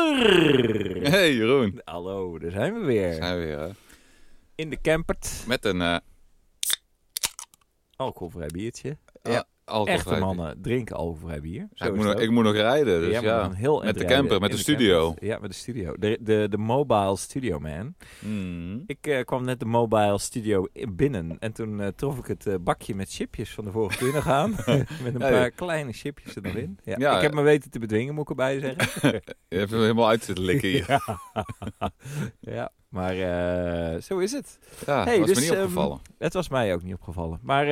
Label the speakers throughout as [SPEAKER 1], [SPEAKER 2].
[SPEAKER 1] Walter.
[SPEAKER 2] Hey Jeroen.
[SPEAKER 1] Hallo, daar zijn we
[SPEAKER 2] Daar
[SPEAKER 1] weer.
[SPEAKER 2] Zijn we weer, hè?
[SPEAKER 1] In de campert.
[SPEAKER 2] Met een eh
[SPEAKER 1] Alcoholvrij biertje. Ja,
[SPEAKER 2] ja, alcoholvrij
[SPEAKER 1] Echte
[SPEAKER 2] bier.
[SPEAKER 1] mannen drinken alcoholvrij bier.
[SPEAKER 2] Ja,
[SPEAKER 1] Zo
[SPEAKER 2] ik,
[SPEAKER 1] is
[SPEAKER 2] moet
[SPEAKER 1] het
[SPEAKER 2] nog,
[SPEAKER 1] ook.
[SPEAKER 2] ik moet nog rijden, dus
[SPEAKER 1] Jij moet
[SPEAKER 2] ja.
[SPEAKER 1] dan heel
[SPEAKER 2] Met de
[SPEAKER 1] eind rijden
[SPEAKER 2] camper, met
[SPEAKER 1] in
[SPEAKER 2] de studio.
[SPEAKER 1] camper. Ja, met de studio. De, de, de mobile studio, man.
[SPEAKER 2] Hmm.
[SPEAKER 1] Ik eh, kwam net de mobile studio i- binnen en toen eh, trof ik het eh, bakje met chipjes van de vorige keer nog aan. met een
[SPEAKER 2] Hey.
[SPEAKER 1] paar kleine chipjes er nog in. Ja,
[SPEAKER 2] Ja,
[SPEAKER 1] ik heb me weten te bedwingen, moet ik erbij zeggen.
[SPEAKER 2] Je hebt hem helemaal uit zitten likken hier. Ja,
[SPEAKER 1] ja, maar eh, zo is het. Hey,
[SPEAKER 2] dat was
[SPEAKER 1] dus,
[SPEAKER 2] me niet
[SPEAKER 1] ehm,
[SPEAKER 2] opgevallen.
[SPEAKER 1] Het was mij ook niet opgevallen. Maar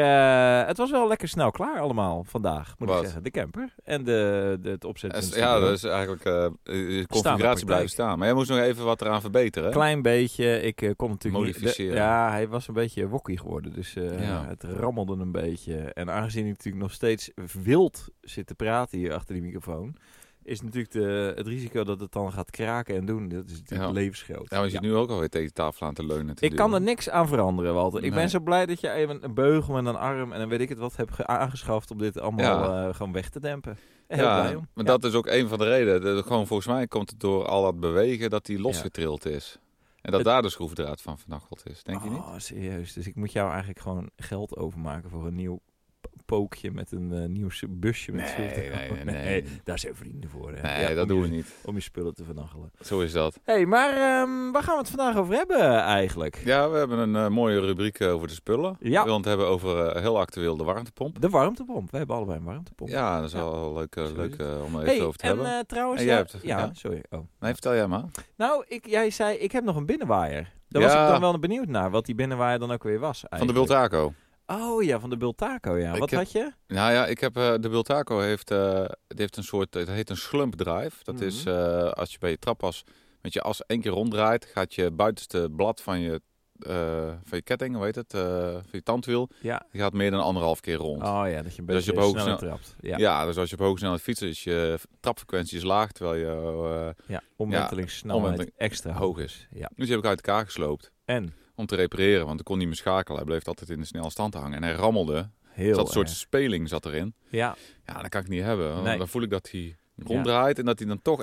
[SPEAKER 1] eh, het was wel lekker snel klaar allemaal vandaag, moet ik
[SPEAKER 2] Wat?
[SPEAKER 1] zeggen. De camper en de, de, het opzetten. van de
[SPEAKER 2] ja,
[SPEAKER 1] studio.
[SPEAKER 2] dat is eigenlijk eh, de
[SPEAKER 1] praktijk.
[SPEAKER 2] configuratie blijven staan. Maar jij moest nog even wat eraan verbeteren. hè?
[SPEAKER 1] Klein beetje. Ik eh, kon natuurlijk niet- de-
[SPEAKER 2] Modificeren.
[SPEAKER 1] ja, hij was een beetje wokkie geworden. Dus eh,
[SPEAKER 2] Ja.
[SPEAKER 1] het rammelde een beetje. En aangezien ik natuurlijk nog steeds wild zit te praten hier achter die microfoon... is natuurlijk de, het risico dat het dan gaat kraken en doen... dat is natuurlijk
[SPEAKER 2] Ja.
[SPEAKER 1] levensgroot.
[SPEAKER 2] Ja, want je zit nu ook alweer tegen de tafel aan te leunen. te
[SPEAKER 1] Ik kan er
[SPEAKER 2] duwen.
[SPEAKER 1] niks aan veranderen, Walter. Ik ben
[SPEAKER 2] Nee.
[SPEAKER 1] zo blij dat je even een beugel en een arm... en dan weet ik het wat hebt ge- aangeschaft om dit allemaal
[SPEAKER 2] Ja.
[SPEAKER 1] eh, gewoon weg te dempen. Heel blij om.
[SPEAKER 2] Maar
[SPEAKER 1] Ja.
[SPEAKER 2] dat is ook een van de redenen. Dat- gewoon volgens mij komt het door al dat bewegen dat die losgetrild is. En dat
[SPEAKER 1] Het-
[SPEAKER 2] daar de schroefdraad van vernacheld is. Denk je niet?
[SPEAKER 1] Oh, serieus. Dus ik moet jou eigenlijk gewoon geld overmaken voor een nieuw p- pookje met een eh, nieuw s- busje met
[SPEAKER 2] Nee,
[SPEAKER 1] schroefdraad.
[SPEAKER 2] nee, nee, nee.
[SPEAKER 1] Daar zijn vrienden voor. Hè?
[SPEAKER 2] Nee,
[SPEAKER 1] Ja, om
[SPEAKER 2] dat doen
[SPEAKER 1] je-
[SPEAKER 2] we niet.
[SPEAKER 1] Om je spullen te vernachelen.
[SPEAKER 2] Zo is dat.
[SPEAKER 1] Hé, hey, maar ehm, waar gaan we het vandaag over hebben eigenlijk?
[SPEAKER 2] Ja, we hebben een eh, mooie rubriek eh, over de spullen.
[SPEAKER 1] Ja.
[SPEAKER 2] We willen het hebben over eh, heel actueel de warmtepomp.
[SPEAKER 1] De warmtepomp. We hebben allebei een warmtepomp.
[SPEAKER 2] Ja, dat is
[SPEAKER 1] Ja.
[SPEAKER 2] wel leuk, eh,
[SPEAKER 1] Zo is
[SPEAKER 2] leuk
[SPEAKER 1] het.
[SPEAKER 2] eh, om er even
[SPEAKER 1] Hey,
[SPEAKER 2] over te
[SPEAKER 1] en
[SPEAKER 2] hebben.
[SPEAKER 1] eh, trouwens...
[SPEAKER 2] En jij
[SPEAKER 1] ja,
[SPEAKER 2] hebt-
[SPEAKER 1] ja,
[SPEAKER 2] ja.
[SPEAKER 1] sorry. Oh.
[SPEAKER 2] Nee, vertel jij maar.
[SPEAKER 1] Nou, ik, jij zei, ik heb nog een binnenwaaier. Daar was
[SPEAKER 2] Ja.
[SPEAKER 1] ik dan wel benieuwd naar, wat die binnenwaaier dan ook weer was
[SPEAKER 2] Van de
[SPEAKER 1] eigenlijk.
[SPEAKER 2] Bultaco.
[SPEAKER 1] Oh ja, van de Bultaco, ja.
[SPEAKER 2] Ik
[SPEAKER 1] Wat
[SPEAKER 2] heb-
[SPEAKER 1] had je?
[SPEAKER 2] Nou ja, ik heb, eh, de Bultaco heeft, eh, die heeft een soort, het heet een slump drive. Dat
[SPEAKER 1] Mhm.
[SPEAKER 2] is eh, als je bij je trappas met je as één keer ronddraait, gaat je buitenste blad van je, eh, van je ketting, hoe heet het, eh, van je tandwiel,
[SPEAKER 1] Ja.
[SPEAKER 2] die gaat meer dan anderhalf keer rond.
[SPEAKER 1] Oh ja, dat je een
[SPEAKER 2] Dus als
[SPEAKER 1] beetje
[SPEAKER 2] je op hoge
[SPEAKER 1] sneller
[SPEAKER 2] snel-
[SPEAKER 1] trapt.
[SPEAKER 2] ja.
[SPEAKER 1] Ja.
[SPEAKER 2] dus als je op hoge snelheid fietst, is je trapfrequentie is laag, terwijl je eh,
[SPEAKER 1] Ja, omwentelingssnelheid
[SPEAKER 2] omwenteling-
[SPEAKER 1] extra
[SPEAKER 2] hoog is.
[SPEAKER 1] Ja.
[SPEAKER 2] Dus die heb ik uit elkaar gesloopt
[SPEAKER 1] En
[SPEAKER 2] om te repareren, want ik kon niet meer schakelen. Hij bleef altijd in de snelle stand hangen en hij rammelde. Dus
[SPEAKER 1] heel
[SPEAKER 2] dat soort
[SPEAKER 1] erg.
[SPEAKER 2] speling zat erin.
[SPEAKER 1] Ja,
[SPEAKER 2] Ja, dat kan ik niet hebben. want
[SPEAKER 1] Nee.
[SPEAKER 2] Dan voel ik dat hij ronddraait en dat hij dan toch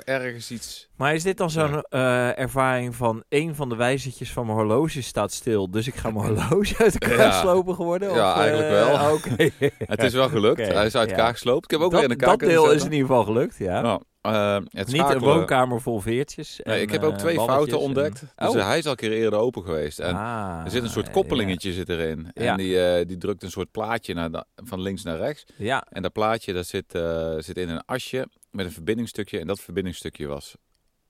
[SPEAKER 2] ergens iets...
[SPEAKER 1] maar is dit dan zo'n eh, ervaring van één van de wijzertjes van mijn horloge staat stil, dus ik ga mijn horloge uit elkaar
[SPEAKER 2] Ja.
[SPEAKER 1] slopen geworden?
[SPEAKER 2] Ja,
[SPEAKER 1] Of, eh,
[SPEAKER 2] eigenlijk wel.
[SPEAKER 1] Oké.
[SPEAKER 2] Het is wel gelukt.
[SPEAKER 1] Oké,
[SPEAKER 2] Hij is uit
[SPEAKER 1] ja.
[SPEAKER 2] elkaar gesloopt. Ik heb ook
[SPEAKER 1] dat,
[SPEAKER 2] weer in elkaar
[SPEAKER 1] dat deel is in
[SPEAKER 2] niet.
[SPEAKER 1] ieder geval gelukt, ja.
[SPEAKER 2] Nou, eh, het
[SPEAKER 1] Niet een
[SPEAKER 2] schakelen-
[SPEAKER 1] woonkamer vol veertjes.
[SPEAKER 2] Nee,
[SPEAKER 1] en,
[SPEAKER 2] ik heb ook
[SPEAKER 1] eh,
[SPEAKER 2] twee
[SPEAKER 1] balletjes
[SPEAKER 2] fouten ontdekt.
[SPEAKER 1] en-
[SPEAKER 2] Dus
[SPEAKER 1] Oh.
[SPEAKER 2] eh, hij is al een keer eerder open geweest. En
[SPEAKER 1] Ah,
[SPEAKER 2] er zit een soort
[SPEAKER 1] ja.
[SPEAKER 2] koppelingetje zit erin. En
[SPEAKER 1] Ja.
[SPEAKER 2] die, eh, die drukt een soort plaatje naar de- van links naar rechts.
[SPEAKER 1] Ja,
[SPEAKER 2] En dat plaatje dat zit, eh, zit in een asje met een verbindingstukje. En dat verbindingstukje was,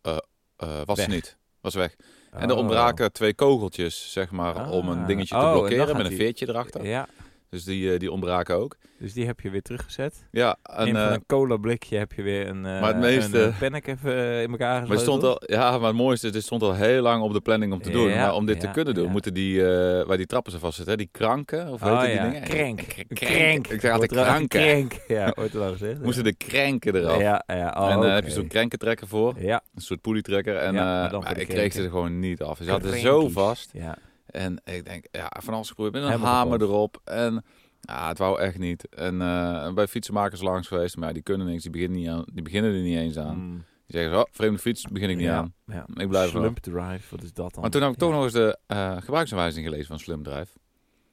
[SPEAKER 2] eh, eh, was
[SPEAKER 1] Weg.
[SPEAKER 2] er niet. Was weg. En er
[SPEAKER 1] de
[SPEAKER 2] ontbraken twee kogeltjes, zeg maar, om een
[SPEAKER 1] Ah.
[SPEAKER 2] dingetje
[SPEAKER 1] Oh, en
[SPEAKER 2] te
[SPEAKER 1] dan
[SPEAKER 2] blokkeren
[SPEAKER 1] gaat
[SPEAKER 2] met een
[SPEAKER 1] die-
[SPEAKER 2] veertje erachter.
[SPEAKER 1] Ja,
[SPEAKER 2] Dus die, eh, die ontbraken ook.
[SPEAKER 1] dus die heb je weer teruggezet.
[SPEAKER 2] Ja,
[SPEAKER 1] En
[SPEAKER 2] en,
[SPEAKER 1] in van
[SPEAKER 2] eh,
[SPEAKER 1] een cola blikje heb je weer een, eh
[SPEAKER 2] maar het meeste-
[SPEAKER 1] een, eh, pennec even in elkaar
[SPEAKER 2] maar,
[SPEAKER 1] gesleuteld.
[SPEAKER 2] het stond al, ja, maar het mooiste is, dit stond al heel lang op de planning om te doen.
[SPEAKER 1] Ja,
[SPEAKER 2] maar om dit te
[SPEAKER 1] ja,
[SPEAKER 2] kunnen doen,
[SPEAKER 1] ja.
[SPEAKER 2] moeten die, eh, waar die trappen zo vast zitten, die kranken, of weet
[SPEAKER 1] Oh,
[SPEAKER 2] je die
[SPEAKER 1] ja.
[SPEAKER 2] dingen?
[SPEAKER 1] Krenk.
[SPEAKER 2] Krenk.
[SPEAKER 1] Krenk.
[SPEAKER 2] Ik dacht de
[SPEAKER 1] Wordt er al-
[SPEAKER 2] kranken.
[SPEAKER 1] Krenk. Ja, ooit al gezegd.
[SPEAKER 2] Moesten de krenken eraf.
[SPEAKER 1] Ja, ja. Oh,
[SPEAKER 2] en dan
[SPEAKER 1] oké.
[SPEAKER 2] heb je zo'n krenkentrekker voor,
[SPEAKER 1] Ja,
[SPEAKER 2] een soort pulleytrekker. En
[SPEAKER 1] Ja,
[SPEAKER 2] eh,
[SPEAKER 1] maar dan voor
[SPEAKER 2] maar
[SPEAKER 1] de
[SPEAKER 2] ik kreeg
[SPEAKER 1] krenken.
[SPEAKER 2] ze er gewoon niet af. Ze zaten
[SPEAKER 1] Krenkies.
[SPEAKER 2] zo vast.
[SPEAKER 1] ja.
[SPEAKER 2] En ik denk, ja, van alles geprobeerd. Met een
[SPEAKER 1] Helemaal
[SPEAKER 2] hamer erop. En ja, het wou echt niet. En eh, bij fietsenmakers langs geweest, maar ja, die kunnen niks. Die beginnen, niet aan, die beginnen er niet eens aan.
[SPEAKER 1] Mm.
[SPEAKER 2] Die zeggen, zo, oh, vreemde fiets, begin ik niet
[SPEAKER 1] Ja,
[SPEAKER 2] aan.
[SPEAKER 1] Ja.
[SPEAKER 2] Ik blijf er wel.
[SPEAKER 1] Slump drive, wat is dat dan?
[SPEAKER 2] Maar toen heb ik toch
[SPEAKER 1] Ja.
[SPEAKER 2] nog eens de eh, gebruiksaanwijzing gelezen van Slim Drive.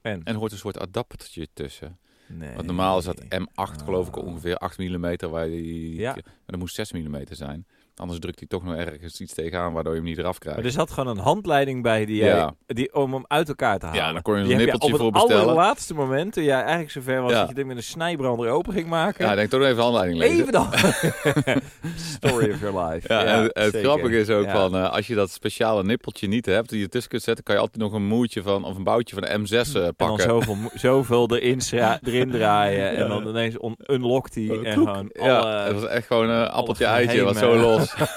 [SPEAKER 1] En?
[SPEAKER 2] En er hoort een soort adaptertje tussen.
[SPEAKER 1] Nee.
[SPEAKER 2] Want normaal is dat M8 geloof ik
[SPEAKER 1] Ah.
[SPEAKER 2] ongeveer 8 mm. Waar die,
[SPEAKER 1] Ja.
[SPEAKER 2] Maar dat moest 6 mm zijn. Anders drukt hij toch nog ergens iets tegenaan waardoor je hem niet eraf krijgt.
[SPEAKER 1] Maar er zat gewoon een handleiding bij die, jij-
[SPEAKER 2] Ja.
[SPEAKER 1] die, om hem uit elkaar te halen.
[SPEAKER 2] ja, dan kon je
[SPEAKER 1] Die
[SPEAKER 2] een
[SPEAKER 1] heb je
[SPEAKER 2] nippeltje
[SPEAKER 1] op
[SPEAKER 2] voor
[SPEAKER 1] het
[SPEAKER 2] bestellen.
[SPEAKER 1] allerlaatste moment, toen jij eigenlijk zover was
[SPEAKER 2] Ja.
[SPEAKER 1] dat je dit met een snijbrander open ging maken.
[SPEAKER 2] Ja, ik denk toch nog even handleiding lezen.
[SPEAKER 1] Even dan. Story of your life.
[SPEAKER 2] Ja, en het- het
[SPEAKER 1] zeker.
[SPEAKER 2] grappige is ook
[SPEAKER 1] Ja.
[SPEAKER 2] van, eh, als je dat speciale nippeltje niet hebt, die je tussen kunt zetten, kan je altijd nog een moertje van, of een boutje van de M6 eh,
[SPEAKER 1] En dan
[SPEAKER 2] pakken.
[SPEAKER 1] zoveel, mo- zoveel erin, schra- erin draaien. En dan ineens on- unlockt hij.
[SPEAKER 2] Eh,
[SPEAKER 1] En
[SPEAKER 2] kloek.
[SPEAKER 1] gewoon
[SPEAKER 2] ja, het
[SPEAKER 1] alle...
[SPEAKER 2] was echt gewoon een appeltje eitje,
[SPEAKER 1] geheime-
[SPEAKER 2] was zo los.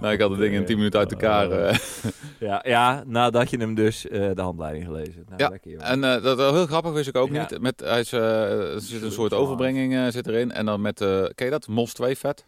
[SPEAKER 2] nou, ik had het ding in 10 minuten uit elkaar.
[SPEAKER 1] Oh.
[SPEAKER 2] eh.
[SPEAKER 1] Ja, ja, nadat je hem dus eh, de handleiding gelezen. Nou,
[SPEAKER 2] Ja,
[SPEAKER 1] lekker, jongen.
[SPEAKER 2] En eh, dat heel grappig wist ik ook
[SPEAKER 1] Ja.
[SPEAKER 2] niet. Met, hij is, eh, er zit een soort
[SPEAKER 1] Drive.
[SPEAKER 2] overbrenging eh, zit erin. En dan met, eh ken je dat? Mos 2 vet?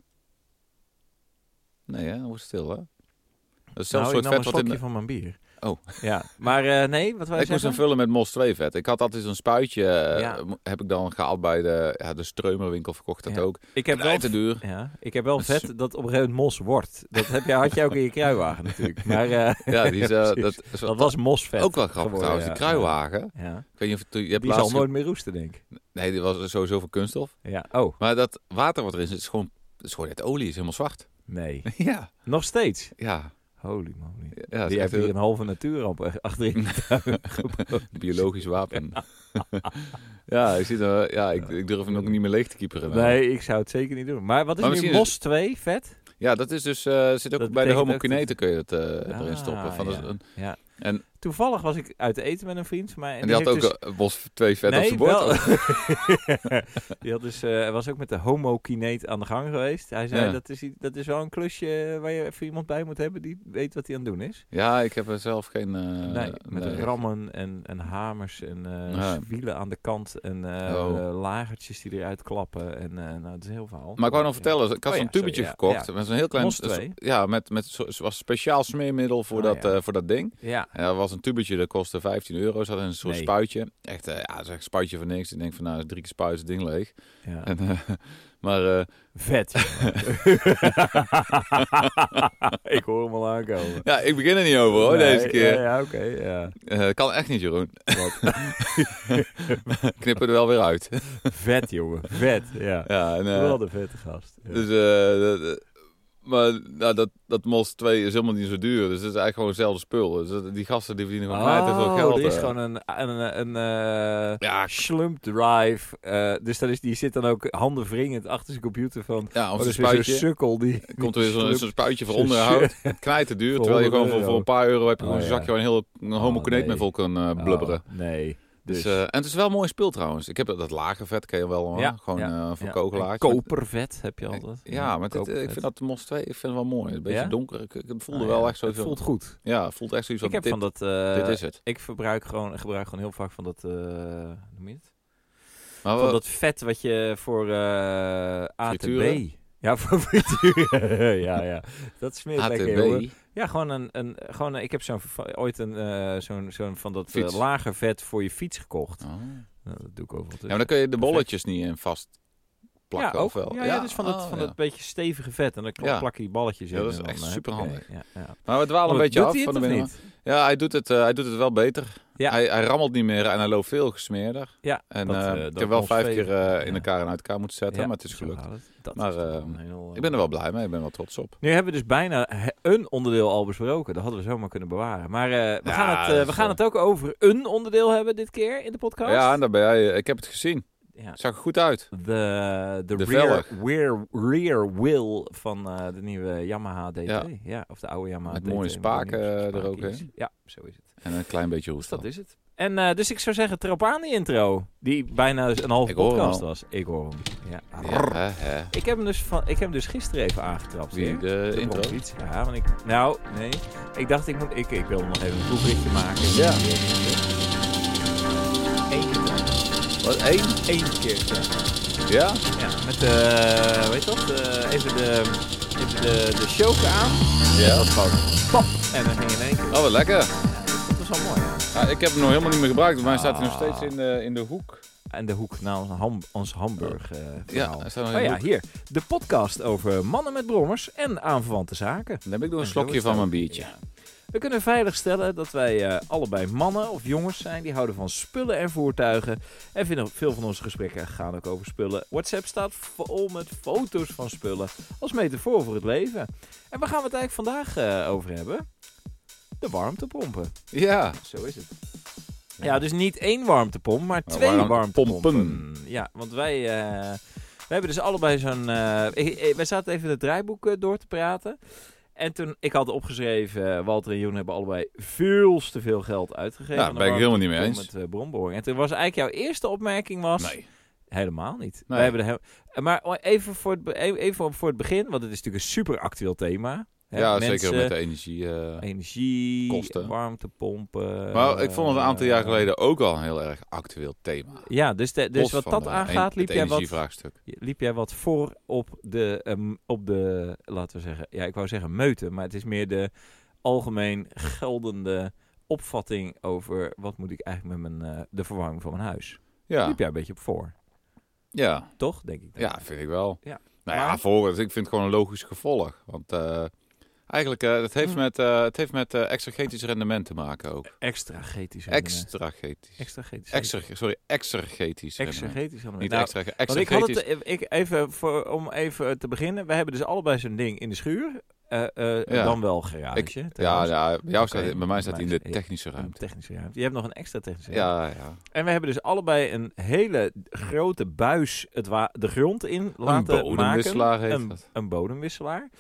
[SPEAKER 2] Nee hè, dat wordt stil hè? Dat is
[SPEAKER 1] nou,
[SPEAKER 2] zelfs
[SPEAKER 1] ik
[SPEAKER 2] soort
[SPEAKER 1] nam
[SPEAKER 2] vet
[SPEAKER 1] Nou, een
[SPEAKER 2] wat in
[SPEAKER 1] slokje
[SPEAKER 2] de-
[SPEAKER 1] van mijn bier.
[SPEAKER 2] Oh.
[SPEAKER 1] Ja, maar eh, nee, wat wij
[SPEAKER 2] ik moest hem
[SPEAKER 1] zeggen?
[SPEAKER 2] vullen met mos 2 vet. Ik had altijd zo'n spuitje, eh,
[SPEAKER 1] Ja.
[SPEAKER 2] mo- heb ik dan gehaald bij de, ja, de streumerwinkel, verkocht dat
[SPEAKER 1] Ja.
[SPEAKER 2] ook.
[SPEAKER 1] Ik heb wel
[SPEAKER 2] Knijter duur.
[SPEAKER 1] Ja, ik heb wel
[SPEAKER 2] Dat is-
[SPEAKER 1] vet dat op een gegeven moment mos wordt. Dat heb je, had jij ook in je kruiwagen natuurlijk. Maar eh,
[SPEAKER 2] Ja, die is, eh,
[SPEAKER 1] precies.
[SPEAKER 2] dat, is wel-
[SPEAKER 1] dat was mosvet.
[SPEAKER 2] ook wel grappig
[SPEAKER 1] geworden,
[SPEAKER 2] trouwens,
[SPEAKER 1] ja.
[SPEAKER 2] die kruiwagen.
[SPEAKER 1] Ja.
[SPEAKER 2] Ik weet niet of je- je hebt
[SPEAKER 1] Die zal
[SPEAKER 2] laatst...
[SPEAKER 1] nooit meer roesten, denk ik.
[SPEAKER 2] Nee, die was sowieso van kunststof.
[SPEAKER 1] Ja. Oh,
[SPEAKER 2] Maar dat water wat erin zit, is gewoon, is gewoon net olie, is helemaal zwart.
[SPEAKER 1] nee.
[SPEAKER 2] ja,
[SPEAKER 1] Nog steeds.
[SPEAKER 2] ja.
[SPEAKER 1] Holy moly.
[SPEAKER 2] ja dat is
[SPEAKER 1] Die
[SPEAKER 2] echt
[SPEAKER 1] heeft hier
[SPEAKER 2] een
[SPEAKER 1] een halve natuurramp echt achter in de tuin gebouwd.
[SPEAKER 2] biologisch wapen. ja, ik, zit, eh, ja ik, ik durf hem ook niet meer leeg te kieperen.
[SPEAKER 1] Nee, ik zou het zeker niet doen. Maar wat is
[SPEAKER 2] Maar
[SPEAKER 1] nu
[SPEAKER 2] misschien is-
[SPEAKER 1] mos 2 vet?
[SPEAKER 2] Ja, dat is dus, eh, zit
[SPEAKER 1] Dat
[SPEAKER 2] ook bij de
[SPEAKER 1] betekent ook
[SPEAKER 2] homokineten kun je het eh, erin
[SPEAKER 1] Ah,
[SPEAKER 2] stoppen. Van
[SPEAKER 1] ja.
[SPEAKER 2] dat is een-
[SPEAKER 1] Ja.
[SPEAKER 2] en-
[SPEAKER 1] Toevallig was ik uit eten met een vriend van mij. En,
[SPEAKER 2] en die had
[SPEAKER 1] heeft
[SPEAKER 2] ook
[SPEAKER 1] dus-
[SPEAKER 2] eh, bos twee vet op
[SPEAKER 1] Nee,
[SPEAKER 2] zijn bord.
[SPEAKER 1] wel- die had dus, eh, was ook met de homokineet aan de gang geweest. Hij zei,
[SPEAKER 2] Ja.
[SPEAKER 1] dat, is, i- dat is wel een klusje eh, waar je even iemand bij moet hebben die weet wat hij aan het doen is.
[SPEAKER 2] Ja, ik heb er zelf geen... eh,
[SPEAKER 1] nee, met
[SPEAKER 2] nee.
[SPEAKER 1] rammen en, en hamers en eh
[SPEAKER 2] Ja.
[SPEAKER 1] wielen aan de kant en eh,
[SPEAKER 2] Oh.
[SPEAKER 1] eh, lagertjes die eruit klappen. En eh, nou, het is heel verhaal.
[SPEAKER 2] Maar ik wou nog vertellen, ik had
[SPEAKER 1] Oh ja,
[SPEAKER 2] zo'n tubetje
[SPEAKER 1] sorry, ja,
[SPEAKER 2] gekocht.
[SPEAKER 1] ja.
[SPEAKER 2] Met zo'n heel klein...
[SPEAKER 1] Mos twee.
[SPEAKER 2] Ja, met, met zo, zo- was speciaal smeermiddel voor,
[SPEAKER 1] Oh,
[SPEAKER 2] dat,
[SPEAKER 1] ja.
[SPEAKER 2] eh, voor dat ding.
[SPEAKER 1] Ja,
[SPEAKER 2] En dat was een tubetje, dat kostte 15 euro. Zat in een soort
[SPEAKER 1] Nee.
[SPEAKER 2] spuitje. Echt, eh, ja, dat is echt een spuitje van niks. Ik denk van, nou, drie keer spuit is het ding leeg.
[SPEAKER 1] ja.
[SPEAKER 2] En, eh, maar eh,
[SPEAKER 1] vet. jongen. ik hoor hem al aankomen.
[SPEAKER 2] ja, ik begin er niet over hoor,
[SPEAKER 1] Nee,
[SPEAKER 2] deze keer.
[SPEAKER 1] Ja, ja, oké. ja.
[SPEAKER 2] Eh, kan echt niet, Jeroen. Knippen er wel weer uit.
[SPEAKER 1] Vet, jongen. Vet, ja.
[SPEAKER 2] ja, en, eh,
[SPEAKER 1] Wel de vette gast. Ja.
[SPEAKER 2] Dus, eh, dat- dat- maar nou, dat, dat Mos 2 is helemaal niet zo duur. Dus het is eigenlijk gewoon hetzelfde spul. Dus dat- die gasten die verdienen gewoon knijter veel geld.
[SPEAKER 1] Oh, er is
[SPEAKER 2] eh.
[SPEAKER 1] gewoon een, een, een, een eh,
[SPEAKER 2] Ja, k-
[SPEAKER 1] slump drive. eh, dus dat is, die zit dan ook handen wringend achter zijn computer van...
[SPEAKER 2] ja
[SPEAKER 1] Oh,
[SPEAKER 2] of
[SPEAKER 1] dat
[SPEAKER 2] een
[SPEAKER 1] is weer
[SPEAKER 2] spuitje.
[SPEAKER 1] zo'n sukkel die...
[SPEAKER 2] komt er weer zo'n zo'n spuitje voor
[SPEAKER 1] zo'n
[SPEAKER 2] onderhoud. Het knijt te duur.
[SPEAKER 1] Voor
[SPEAKER 2] Terwijl je gewoon
[SPEAKER 1] 100 euro.
[SPEAKER 2] voor, voor een paar euro heb je gewoon
[SPEAKER 1] Oh,
[SPEAKER 2] een
[SPEAKER 1] ja.
[SPEAKER 2] zakje waar een heel een homo
[SPEAKER 1] Oh, nee.
[SPEAKER 2] mee vol kan eh, blubberen.
[SPEAKER 1] Oh, nee.
[SPEAKER 2] dus, eh, en het is wel een mooi spul trouwens. Ik heb dat, dat lage vet, ken je wel hoor.
[SPEAKER 1] Ja,
[SPEAKER 2] Gewoon
[SPEAKER 1] ja,
[SPEAKER 2] eh, voor
[SPEAKER 1] ja.
[SPEAKER 2] kogelaars.
[SPEAKER 1] En Kopervet heb je altijd.
[SPEAKER 2] Ja, maar dit, eh, ik
[SPEAKER 1] kopervet.
[SPEAKER 2] vind dat Mos 2 ik vind het wel mooi. Een beetje
[SPEAKER 1] Ja?
[SPEAKER 2] donker. Ik, ik voelde
[SPEAKER 1] Ah,
[SPEAKER 2] wel
[SPEAKER 1] ja.
[SPEAKER 2] echt zo.
[SPEAKER 1] Het voelt goed.
[SPEAKER 2] Ja, het voelt echt zoiets
[SPEAKER 1] Ik heb
[SPEAKER 2] van dit,
[SPEAKER 1] van dat... eh,
[SPEAKER 2] dit is het.
[SPEAKER 1] Ik verbruik gewoon, gebruik gewoon heel vaak van dat... eh, hoe noem je het?
[SPEAKER 2] Maar
[SPEAKER 1] Van
[SPEAKER 2] wel-
[SPEAKER 1] dat vet wat je voor eh ATB...
[SPEAKER 2] Frituren?
[SPEAKER 1] Ja, voor frituren. ja, ja. Dat smeert lekker, jongen.
[SPEAKER 2] ATB.
[SPEAKER 1] Ja, gewoon een, een, gewoon een- ik heb zo'n, va- ooit een, eh, zo'n, zo'n van dat eh,
[SPEAKER 2] Fiets.
[SPEAKER 1] lager vet voor je fiets gekocht.
[SPEAKER 2] Oh.
[SPEAKER 1] Nou, dat doe ik overal.
[SPEAKER 2] Ja,
[SPEAKER 1] tussen.
[SPEAKER 2] maar dan kun je de bolletjes niet in vast plakken,
[SPEAKER 1] ja, ook,
[SPEAKER 2] of wel?
[SPEAKER 1] Ja, ja, dus van, dat,
[SPEAKER 2] oh,
[SPEAKER 1] van
[SPEAKER 2] ja.
[SPEAKER 1] dat beetje stevige vet. En dan
[SPEAKER 2] Ja.
[SPEAKER 1] plak plak je die balletjes in.
[SPEAKER 2] Ja, dat is
[SPEAKER 1] en dan,
[SPEAKER 2] echt
[SPEAKER 1] eh,
[SPEAKER 2] superhandig.
[SPEAKER 1] oké, Ja, ja.
[SPEAKER 2] Maar we dwalen een
[SPEAKER 1] Maar
[SPEAKER 2] beetje
[SPEAKER 1] doet
[SPEAKER 2] af
[SPEAKER 1] hij
[SPEAKER 2] van
[SPEAKER 1] het
[SPEAKER 2] de
[SPEAKER 1] of
[SPEAKER 2] binnen.
[SPEAKER 1] niet?
[SPEAKER 2] Ja, hij doet, het, eh, hij doet het wel beter.
[SPEAKER 1] Ja.
[SPEAKER 2] Hij, hij rammelt niet meer en hij loopt veel gesmeerder.
[SPEAKER 1] Ja,
[SPEAKER 2] En
[SPEAKER 1] dat,
[SPEAKER 2] eh,
[SPEAKER 1] eh,
[SPEAKER 2] ik
[SPEAKER 1] dat
[SPEAKER 2] heb wel
[SPEAKER 1] ons
[SPEAKER 2] vijf
[SPEAKER 1] vegen.
[SPEAKER 2] keer eh, in
[SPEAKER 1] Ja.
[SPEAKER 2] elkaar en uit elkaar moeten zetten,
[SPEAKER 1] Ja,
[SPEAKER 2] maar het is
[SPEAKER 1] zo
[SPEAKER 2] gelukt.
[SPEAKER 1] gaat het. Dat
[SPEAKER 2] Maar,
[SPEAKER 1] is toch
[SPEAKER 2] eh,
[SPEAKER 1] een heel, eh,
[SPEAKER 2] Ik ben er wel blij mee, ik ben er wel trots op.
[SPEAKER 1] Nu hebben we dus bijna he- een onderdeel al besproken. Dat hadden we zomaar kunnen bewaren. Maar eh, we,
[SPEAKER 2] Ja,
[SPEAKER 1] gaan het, eh,
[SPEAKER 2] dat is,
[SPEAKER 1] we gaan
[SPEAKER 2] eh,
[SPEAKER 1] het ook over een onderdeel hebben dit keer in de podcast.
[SPEAKER 2] Ja, en daar ben jij. Ik heb het gezien.
[SPEAKER 1] Ja.
[SPEAKER 2] Zag er goed uit.
[SPEAKER 1] De, de,
[SPEAKER 2] De
[SPEAKER 1] rear, rear, rear wheel van eh, de nieuwe Yamaha DT. Ja.
[SPEAKER 2] Ja.
[SPEAKER 1] of de oude Yamaha
[SPEAKER 2] Met
[SPEAKER 1] DT.
[SPEAKER 2] mooie
[SPEAKER 1] de
[SPEAKER 2] spaken,
[SPEAKER 1] nieuwe
[SPEAKER 2] eh, er
[SPEAKER 1] spaakjes.
[SPEAKER 2] ook, hè?
[SPEAKER 1] Ja, zo is het.
[SPEAKER 2] En een klein beetje
[SPEAKER 1] Dus
[SPEAKER 2] roest.
[SPEAKER 1] dat
[SPEAKER 2] al.
[SPEAKER 1] is het. En eh, dus ik zou zeggen, trap aan die intro. Die bijna een halve
[SPEAKER 2] Ik hoor hem
[SPEAKER 1] podcast
[SPEAKER 2] al.
[SPEAKER 1] was. Ik hoor hem. Ja.
[SPEAKER 2] Ja, hè, hè.
[SPEAKER 1] Ik, heb hem dus van, ik heb hem dus gisteren even aangetrapt.
[SPEAKER 2] Wie
[SPEAKER 1] weer.
[SPEAKER 2] de
[SPEAKER 1] De
[SPEAKER 2] intro?
[SPEAKER 1] bromfiets. Ja, want ik... Nou, nee. Ik dacht, ik, moet, ik, ik wilde nog even een proefritje maken.
[SPEAKER 2] Ja.
[SPEAKER 1] Eén keer. trappen.
[SPEAKER 2] Wat, één?
[SPEAKER 1] Eén keer. trappen.
[SPEAKER 2] Ja?
[SPEAKER 1] Ja, met de, weet je dat, eh, even de, even de, de choker aan.
[SPEAKER 2] Ja, dat gaat.
[SPEAKER 1] Pap! En dan ging in één keer.
[SPEAKER 2] Oh, wat lekker.
[SPEAKER 1] Dat was wel mooi. ja.
[SPEAKER 2] Ja, ik heb hem nog helemaal niet meer gebruikt, maar hij staat hier
[SPEAKER 1] Ah.
[SPEAKER 2] nog steeds in de, in de hoek.
[SPEAKER 1] En de hoek naar ons, ham, ons Hamburg eh verhaal.
[SPEAKER 2] hij staat nog in
[SPEAKER 1] oh
[SPEAKER 2] de
[SPEAKER 1] ja,
[SPEAKER 2] hoek.
[SPEAKER 1] hier. De podcast over mannen met brommers en aanverwante zaken.
[SPEAKER 2] Dan heb
[SPEAKER 1] En
[SPEAKER 2] ik nog een
[SPEAKER 1] zo is
[SPEAKER 2] slokje
[SPEAKER 1] het
[SPEAKER 2] van
[SPEAKER 1] ook.
[SPEAKER 2] mijn biertje.
[SPEAKER 1] Ja. We kunnen veiligstellen dat wij eh, allebei mannen of jongens zijn die houden van spullen en voertuigen. En vinden veel van onze gesprekken gaan ook over spullen. WhatsApp staat vol met foto's van spullen als metafoor voor het leven. En waar gaan we het eigenlijk vandaag eh, over hebben? De warmtepompen.
[SPEAKER 2] Ja.
[SPEAKER 1] Zo is het. Ja, dus niet één warmtepomp, maar
[SPEAKER 2] Maar
[SPEAKER 1] twee
[SPEAKER 2] warmtepompen.
[SPEAKER 1] warmtepompen. Ja, want wij, eh, we hebben dus allebei zo'n... eh, ik- ik- wij zaten even het draaiboek eh, door te praten. En toen, ik had opgeschreven, eh, Walter en Joen hebben allebei veel te veel geld uitgegeven.
[SPEAKER 2] Ja,
[SPEAKER 1] aan
[SPEAKER 2] Nou, daar
[SPEAKER 1] de
[SPEAKER 2] ben ik helemaal niet mee
[SPEAKER 1] warmtepomp
[SPEAKER 2] eens.
[SPEAKER 1] Met eh, bronboring. En toen was eigenlijk jouw eerste opmerking was...
[SPEAKER 2] Nee.
[SPEAKER 1] Helemaal niet.
[SPEAKER 2] Nee.
[SPEAKER 1] Wij hebben de he- maar oh, even voor, het, be- e- even voor het begin, want het is natuurlijk een super actueel thema. Hè,
[SPEAKER 2] Ja,
[SPEAKER 1] mensen,
[SPEAKER 2] zeker met de energie. eh.
[SPEAKER 1] Energie,
[SPEAKER 2] kosten.
[SPEAKER 1] warmtepompen.
[SPEAKER 2] Maar ik vond het een aantal jaar
[SPEAKER 1] eh,
[SPEAKER 2] geleden ook al een heel erg actueel thema.
[SPEAKER 1] Ja, dus, de- dus
[SPEAKER 2] Los
[SPEAKER 1] wat
[SPEAKER 2] van
[SPEAKER 1] dat
[SPEAKER 2] de
[SPEAKER 1] aangaat,
[SPEAKER 2] en-
[SPEAKER 1] liep
[SPEAKER 2] het
[SPEAKER 1] jij, wat,
[SPEAKER 2] energievraagstuk.
[SPEAKER 1] liep jij wat voor op de, ehm, op de, laten we zeggen, ja, ik wou zeggen meuten, maar het is meer de algemeen geldende opvatting over wat moet ik eigenlijk met mijn, eh, de verwarming van mijn huis.
[SPEAKER 2] Ja,
[SPEAKER 1] Liep jij een beetje op voor,
[SPEAKER 2] ja,
[SPEAKER 1] toch? Denk ik. dan.
[SPEAKER 2] ja, vind ik wel.
[SPEAKER 1] Ja.
[SPEAKER 2] Nou ja,
[SPEAKER 1] Maar-
[SPEAKER 2] voor, dus ik vind het gewoon een logisch gevolg. Want eh, eigenlijk, eh het heeft
[SPEAKER 1] Hm.
[SPEAKER 2] met, eh het heeft met eh exergetisch rendement te maken ook.
[SPEAKER 1] Extra getisch. rendement.
[SPEAKER 2] Extragetisch.
[SPEAKER 1] eh, Extra getisch.
[SPEAKER 2] Exer, sorry, exergetisch.
[SPEAKER 1] Extra
[SPEAKER 2] rendement.
[SPEAKER 1] getisch.
[SPEAKER 2] Niet
[SPEAKER 1] Nou,
[SPEAKER 2] extra,
[SPEAKER 1] Want ik had
[SPEAKER 2] exergetisch.
[SPEAKER 1] het, eh, ik, even voor, om even te beginnen. We hebben dus allebei zo'n ding in de schuur. Eh, eh,
[SPEAKER 2] Ja.
[SPEAKER 1] Dan wel garage.
[SPEAKER 2] Ik- Ja,
[SPEAKER 1] trouwens.
[SPEAKER 2] ja, bij, jou staat,
[SPEAKER 1] Oké,
[SPEAKER 2] bij mij staat hij in de
[SPEAKER 1] bij-
[SPEAKER 2] technische
[SPEAKER 1] Een
[SPEAKER 2] ruimte.
[SPEAKER 1] technische ruimte. Je hebt nog een extra technische ruimte.
[SPEAKER 2] Ja, ja.
[SPEAKER 1] En we hebben dus allebei een hele grote buis het wa- de grond in laten
[SPEAKER 2] een bodemwisselaar
[SPEAKER 1] maken.
[SPEAKER 2] heet
[SPEAKER 1] Een,
[SPEAKER 2] dat.
[SPEAKER 1] een bodemwisselaar.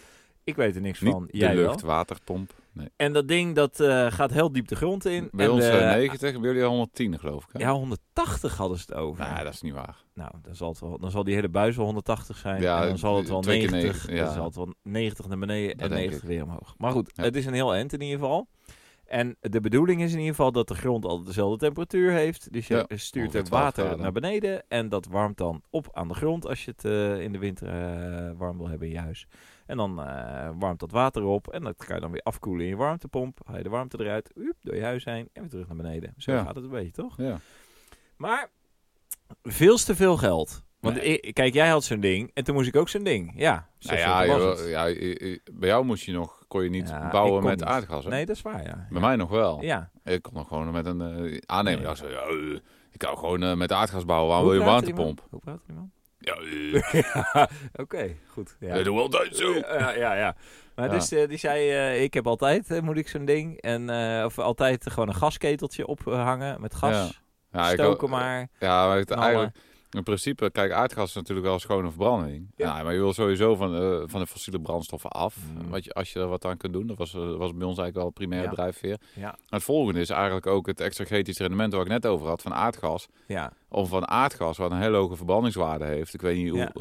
[SPEAKER 1] Ik weet er niks
[SPEAKER 2] Niet
[SPEAKER 1] van.
[SPEAKER 2] de
[SPEAKER 1] Jij wel.
[SPEAKER 2] luchtwaterpomp. Nee.
[SPEAKER 1] En dat ding dat eh, gaat heel diep de grond in.
[SPEAKER 2] Bij
[SPEAKER 1] en
[SPEAKER 2] ons
[SPEAKER 1] de-
[SPEAKER 2] eh, 90, bij jullie 110 geloof ik. hè?
[SPEAKER 1] Ja, 180 hadden ze het over.
[SPEAKER 2] Nou, dat is niet waar.
[SPEAKER 1] Nou, dan zal, het wel, dan zal die hele buis wel 180 zijn.
[SPEAKER 2] Ja,
[SPEAKER 1] en dan zal het wel
[SPEAKER 2] twee keer
[SPEAKER 1] 90.
[SPEAKER 2] 90, ja.
[SPEAKER 1] Dan zal het wel 90 naar beneden en
[SPEAKER 2] Dat denk
[SPEAKER 1] 90 weer omhoog. Maar goed,
[SPEAKER 2] Ja.
[SPEAKER 1] het is een heel end in ieder geval. En de bedoeling is in ieder geval dat de grond altijd dezelfde temperatuur heeft. Dus je stuurt
[SPEAKER 2] ongeveer
[SPEAKER 1] het
[SPEAKER 2] 12
[SPEAKER 1] water
[SPEAKER 2] graden.
[SPEAKER 1] naar beneden. En dat warmt dan op aan de grond als je het eh, in de winter eh, warm wil hebben in je huis. En dan eh, warmt dat water op. En dat kan je dan weer afkoelen in je warmtepomp. Haal je de warmte eruit. Oep, door je huis heen. En weer terug naar beneden. Zo
[SPEAKER 2] Ja.
[SPEAKER 1] gaat het een beetje, toch?
[SPEAKER 2] Ja.
[SPEAKER 1] Maar veel te veel geld. Want
[SPEAKER 2] Nee.
[SPEAKER 1] ik- kijk, jij had zo'n ding en toen moest ik ook zo'n ding. Ja, zo
[SPEAKER 2] Nou ja,
[SPEAKER 1] simpel was
[SPEAKER 2] joh,
[SPEAKER 1] het.
[SPEAKER 2] ja, i- i- bij jou moest je nog, kon je niet
[SPEAKER 1] Ja, ik
[SPEAKER 2] bouwen
[SPEAKER 1] kon
[SPEAKER 2] met
[SPEAKER 1] niet.
[SPEAKER 2] aardgas. Hè?
[SPEAKER 1] Nee, dat is waar, ja.
[SPEAKER 2] Bij mij nog wel.
[SPEAKER 1] Ja,
[SPEAKER 2] Ik kon nog gewoon met een eh, aannemer.
[SPEAKER 1] Nee.
[SPEAKER 2] Ik dacht zo, ja, eh, ik kan gewoon eh, met aardgas bouwen. Waarom
[SPEAKER 1] Hoe
[SPEAKER 2] wil je een
[SPEAKER 1] praat er iemand?
[SPEAKER 2] warmtepomp?
[SPEAKER 1] Hoe praat er iemand?
[SPEAKER 2] Ja, eh,
[SPEAKER 1] Oké, goed. Ja.
[SPEAKER 2] dat doe wel Duits zo.
[SPEAKER 1] Ja, ja, ja. Maar
[SPEAKER 2] Ja.
[SPEAKER 1] dus eh, die zei, eh, ik heb altijd, eh, moet ik zo'n ding. En, eh, of altijd gewoon een gasketeltje ophangen met gas.
[SPEAKER 2] Ja, ik
[SPEAKER 1] Stoken
[SPEAKER 2] ook-
[SPEAKER 1] maar.
[SPEAKER 2] Ja, maar het
[SPEAKER 1] knallen.
[SPEAKER 2] eigenlijk, in principe, kijk, aardgas is natuurlijk wel schone verbranding.
[SPEAKER 1] Ja.
[SPEAKER 2] Ja, maar je wil sowieso van, eh, van de fossiele brandstoffen af.
[SPEAKER 1] Mm.
[SPEAKER 2] Wat je, als je er wat aan kunt doen, dat was, eh, was bij ons eigenlijk wel het primaire
[SPEAKER 1] Ja.
[SPEAKER 2] drijfveer.
[SPEAKER 1] Ja,
[SPEAKER 2] Maar het volgende is eigenlijk ook het exergetisch rendement waar ik net over had van aardgas.
[SPEAKER 1] ja.
[SPEAKER 2] Om van aardgas, wat een hele hoge verbrandingswaarde heeft. Ik weet niet hoe...
[SPEAKER 1] Ja.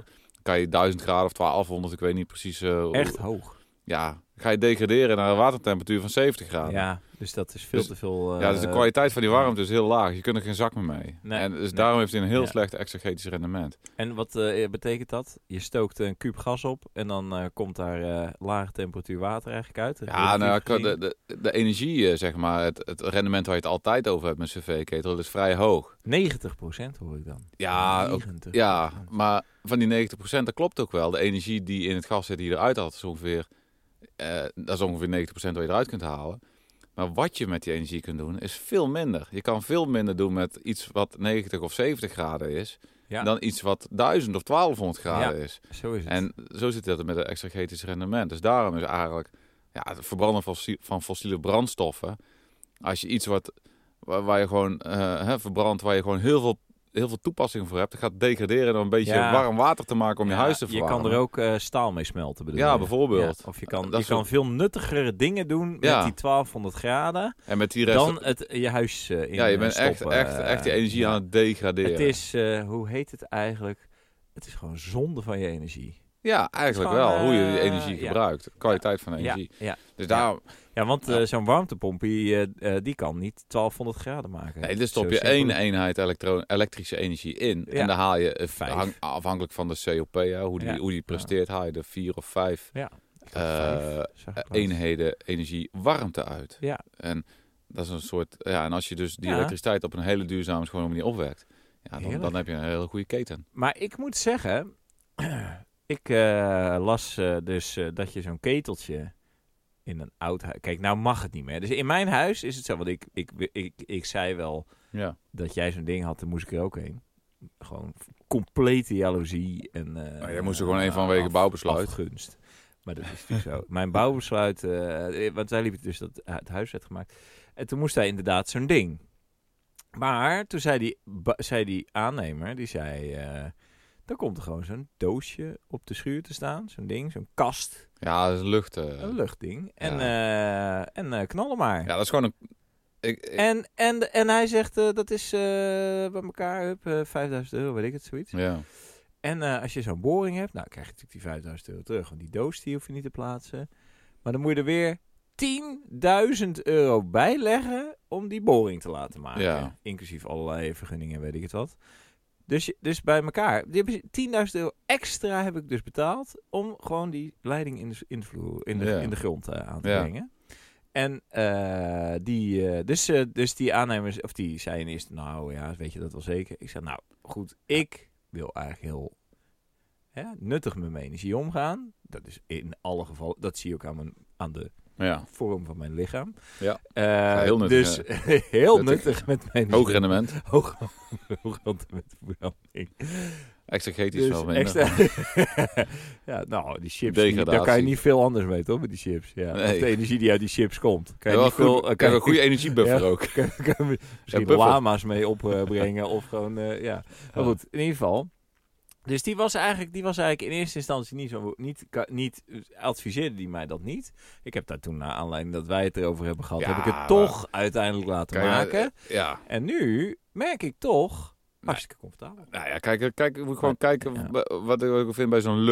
[SPEAKER 2] Kan je 1000 graden of 1200, ik weet niet precies. eh, hoe-
[SPEAKER 1] echt hoog.
[SPEAKER 2] Ja, ga je degraderen naar een watertemperatuur van 70 graden.
[SPEAKER 1] Ja, dus dat is veel
[SPEAKER 2] Dus-
[SPEAKER 1] te veel.
[SPEAKER 2] Ja, dus de
[SPEAKER 1] eh,
[SPEAKER 2] kwaliteit van die warmte is heel laag. Je kunt er geen zak meer mee.
[SPEAKER 1] Nee,
[SPEAKER 2] en dus
[SPEAKER 1] nee.
[SPEAKER 2] daarom heeft hij een heel
[SPEAKER 1] Ja.
[SPEAKER 2] slecht exergetisch rendement.
[SPEAKER 1] En wat eh, betekent dat? Je stookt een kuub gas op en dan eh, komt daar eh, lage temperatuur water eigenlijk uit.
[SPEAKER 2] Ja, nou,
[SPEAKER 1] relatief
[SPEAKER 2] kan- de, de, de energie, eh, zeg maar, het, het rendement waar je het altijd over hebt met cv-ketel, is vrij hoog.
[SPEAKER 1] gezien. 90% hoor ik dan.
[SPEAKER 2] Ja, ook-
[SPEAKER 1] 90%.
[SPEAKER 2] ja, maar van die 90%, dat klopt ook wel. De energie die in het gas zit, die je eruit haalt, is ongeveer, eh, dat is ongeveer 90% wat je eruit kunt halen. Maar wat je met die energie kunt doen, is veel minder. Je kan veel minder doen met iets wat 90 of 70 graden is,
[SPEAKER 1] Ja.
[SPEAKER 2] dan iets wat 1000 of 1200 graden is.
[SPEAKER 1] Zo is het.
[SPEAKER 2] En zo zit dat met het exergetisch rendement. Dus daarom is eigenlijk ja, het verbranden van fossi- van fossiele brandstoffen. Als je iets wat, waar, waar je gewoon eh, hè, verbrandt, waar je gewoon heel veel, heel veel toepassing voor hebt, dat gaat degraderen door een beetje
[SPEAKER 1] Ja.
[SPEAKER 2] warm water te maken om je
[SPEAKER 1] Ja,
[SPEAKER 2] huis te
[SPEAKER 1] Je
[SPEAKER 2] verwarmen.
[SPEAKER 1] kan er ook eh, staal mee smelten, bedoel
[SPEAKER 2] Ja,
[SPEAKER 1] je?
[SPEAKER 2] bijvoorbeeld.
[SPEAKER 1] Ja, of je kan,
[SPEAKER 2] Dat
[SPEAKER 1] je
[SPEAKER 2] is
[SPEAKER 1] kan
[SPEAKER 2] ook-
[SPEAKER 1] veel nuttigere dingen doen met
[SPEAKER 2] Ja.
[SPEAKER 1] die 1200 graden
[SPEAKER 2] En met die rest.
[SPEAKER 1] dan het, je huis eh, in
[SPEAKER 2] ja, je bent
[SPEAKER 1] eh,
[SPEAKER 2] echt,
[SPEAKER 1] stoppen,
[SPEAKER 2] echt,
[SPEAKER 1] eh,
[SPEAKER 2] echt die energie
[SPEAKER 1] ja.
[SPEAKER 2] aan het degraderen.
[SPEAKER 1] Het is, eh, hoe heet het eigenlijk? Het is gewoon zonde van je energie.
[SPEAKER 2] ja, eigenlijk
[SPEAKER 1] het is
[SPEAKER 2] wel.
[SPEAKER 1] gewoon,
[SPEAKER 2] Hoe je die
[SPEAKER 1] eh,
[SPEAKER 2] energie
[SPEAKER 1] ja.
[SPEAKER 2] gebruikt. Kwaliteit van energie.
[SPEAKER 1] Ja, ja.
[SPEAKER 2] Dus daarom,
[SPEAKER 1] Ja, want
[SPEAKER 2] Ja.
[SPEAKER 1] eh, zo'n warmtepomp die, eh, eh, die kan niet 1200 graden maken.
[SPEAKER 2] Nee, dus stop
[SPEAKER 1] Zo
[SPEAKER 2] je
[SPEAKER 1] simpel.
[SPEAKER 2] één eenheid elektro- elektrische energie in.
[SPEAKER 1] Ja.
[SPEAKER 2] En dan haal je, eh,
[SPEAKER 1] Vijf.
[SPEAKER 2] hang- afhankelijk van de COP, hè, hoe, die,
[SPEAKER 1] Ja.
[SPEAKER 2] hoe die presteert, haal je er vier of vijf
[SPEAKER 1] Ja, ik had
[SPEAKER 2] eh,
[SPEAKER 1] vijf, zag ik laatst.
[SPEAKER 2] eenheden energie warmte uit.
[SPEAKER 1] Ja.
[SPEAKER 2] En dat is een soort. Ja, en als je dus die
[SPEAKER 1] Ja.
[SPEAKER 2] elektriciteit op een hele duurzame schone manier opwekt, ja, dan,
[SPEAKER 1] Heerlijk.
[SPEAKER 2] dan heb je een hele goede keten.
[SPEAKER 1] Maar ik moet zeggen, ik eh, las eh, dus eh, dat je zo'n keteltje in een oud huis... Kijk, nou mag het niet meer. Dus in mijn huis is het zo, want ik, ik, ik, ik, zei wel
[SPEAKER 2] Ja.
[SPEAKER 1] dat jij zo'n ding had, dan moest ik er ook heen. Gewoon complete jaloezie en... eh,
[SPEAKER 2] Nou, jij moest er gewoon één
[SPEAKER 1] eh,
[SPEAKER 2] vanwege
[SPEAKER 1] af-
[SPEAKER 2] bouwbesluit.
[SPEAKER 1] Afgunst. Maar dat is natuurlijk zo. Mijn bouwbesluit, eh, want wij liepen dus dat, het huis werd gemaakt. En toen moest hij inderdaad zo'n ding. Maar toen zei die, ba- zei die aannemer, die zei... eh dan komt er gewoon zo'n doosje op de schuur te staan. Zo'n ding, zo'n kast,
[SPEAKER 2] Ja, dat is lucht. eh.
[SPEAKER 1] een luchtding. En, eh, en eh, knallen maar.
[SPEAKER 2] Ja, dat is gewoon een. Ik, ik-
[SPEAKER 1] En, en, en hij zegt, eh, dat is eh, bij elkaar hup, eh, 5000 euro, weet ik het, zoiets.
[SPEAKER 2] ja.
[SPEAKER 1] En eh, als je zo'n boring hebt, nou krijg je natuurlijk die 5000 euro terug. Want die doos die hoef je niet te plaatsen. Maar dan moet je er weer 10.000 euro bij leggen om die boring te laten maken.
[SPEAKER 2] Ja.
[SPEAKER 1] Inclusief allerlei vergunningen, weet ik het wat. Dus, je- dus bij elkaar, die hebben ze- 10.000 euro extra heb ik dus betaald om gewoon die leiding in de, s- in de vloer, in de,
[SPEAKER 2] Ja.
[SPEAKER 1] in de grond eh, aan te
[SPEAKER 2] Ja.
[SPEAKER 1] brengen. En eh, die, eh, dus, eh, dus die aannemers, of die zeiden eerst, nou ja, weet je dat wel zeker? Ik zei, nou goed, ik wil eigenlijk heel hè, nuttig met mijn energie omgaan. Dat is in alle gevallen, dat zie je ook aan, mijn, aan de
[SPEAKER 2] Ja,
[SPEAKER 1] vorm van mijn lichaam.
[SPEAKER 2] Ja.
[SPEAKER 1] Eh,
[SPEAKER 2] Ja, heel nuttig,
[SPEAKER 1] Dus heel
[SPEAKER 2] Nuttig.
[SPEAKER 1] nuttig met mijn
[SPEAKER 2] hoog rendement.
[SPEAKER 1] hoog, hoog met verbranding.
[SPEAKER 2] Extra getisch
[SPEAKER 1] Dus
[SPEAKER 2] wel minder.
[SPEAKER 1] extra... ja, nou, die chips, die- daar kan je
[SPEAKER 2] Degradatie.
[SPEAKER 1] niet veel anders mee, toch? Met die chips. Ja.
[SPEAKER 2] Nee.
[SPEAKER 1] Of De energie die uit die chips komt. Kan
[SPEAKER 2] Ja,
[SPEAKER 1] je
[SPEAKER 2] wel
[SPEAKER 1] niet veel...
[SPEAKER 2] goed,
[SPEAKER 1] eh,
[SPEAKER 2] kan
[SPEAKER 1] kan
[SPEAKER 2] een
[SPEAKER 1] je-
[SPEAKER 2] goede energiebuffer
[SPEAKER 1] Ja.
[SPEAKER 2] ook.
[SPEAKER 1] Kan- kan- kan- misschien
[SPEAKER 2] buffer.
[SPEAKER 1] lama's mee opbrengen of gewoon, eh, ja. Maar
[SPEAKER 2] Ja.
[SPEAKER 1] goed, in ieder geval. Dus die was eigenlijk, die was eigenlijk in eerste instantie niet zo, niet, ka- niet adviseerde die mij dat niet. Ik heb daar toen, naar aanleiding dat wij het erover hebben gehad,
[SPEAKER 2] Ja,
[SPEAKER 1] heb ik
[SPEAKER 2] maar-
[SPEAKER 1] het toch uiteindelijk laten
[SPEAKER 2] Kan je-
[SPEAKER 1] maken.
[SPEAKER 2] eh, Ja,
[SPEAKER 1] En nu merk ik toch,
[SPEAKER 2] Nee.
[SPEAKER 1] hartstikke comfortabel.
[SPEAKER 2] nou ja, kijk, kijk, je moet gewoon kijken
[SPEAKER 1] ja.
[SPEAKER 2] wa- wat ik ook vind bij zo'n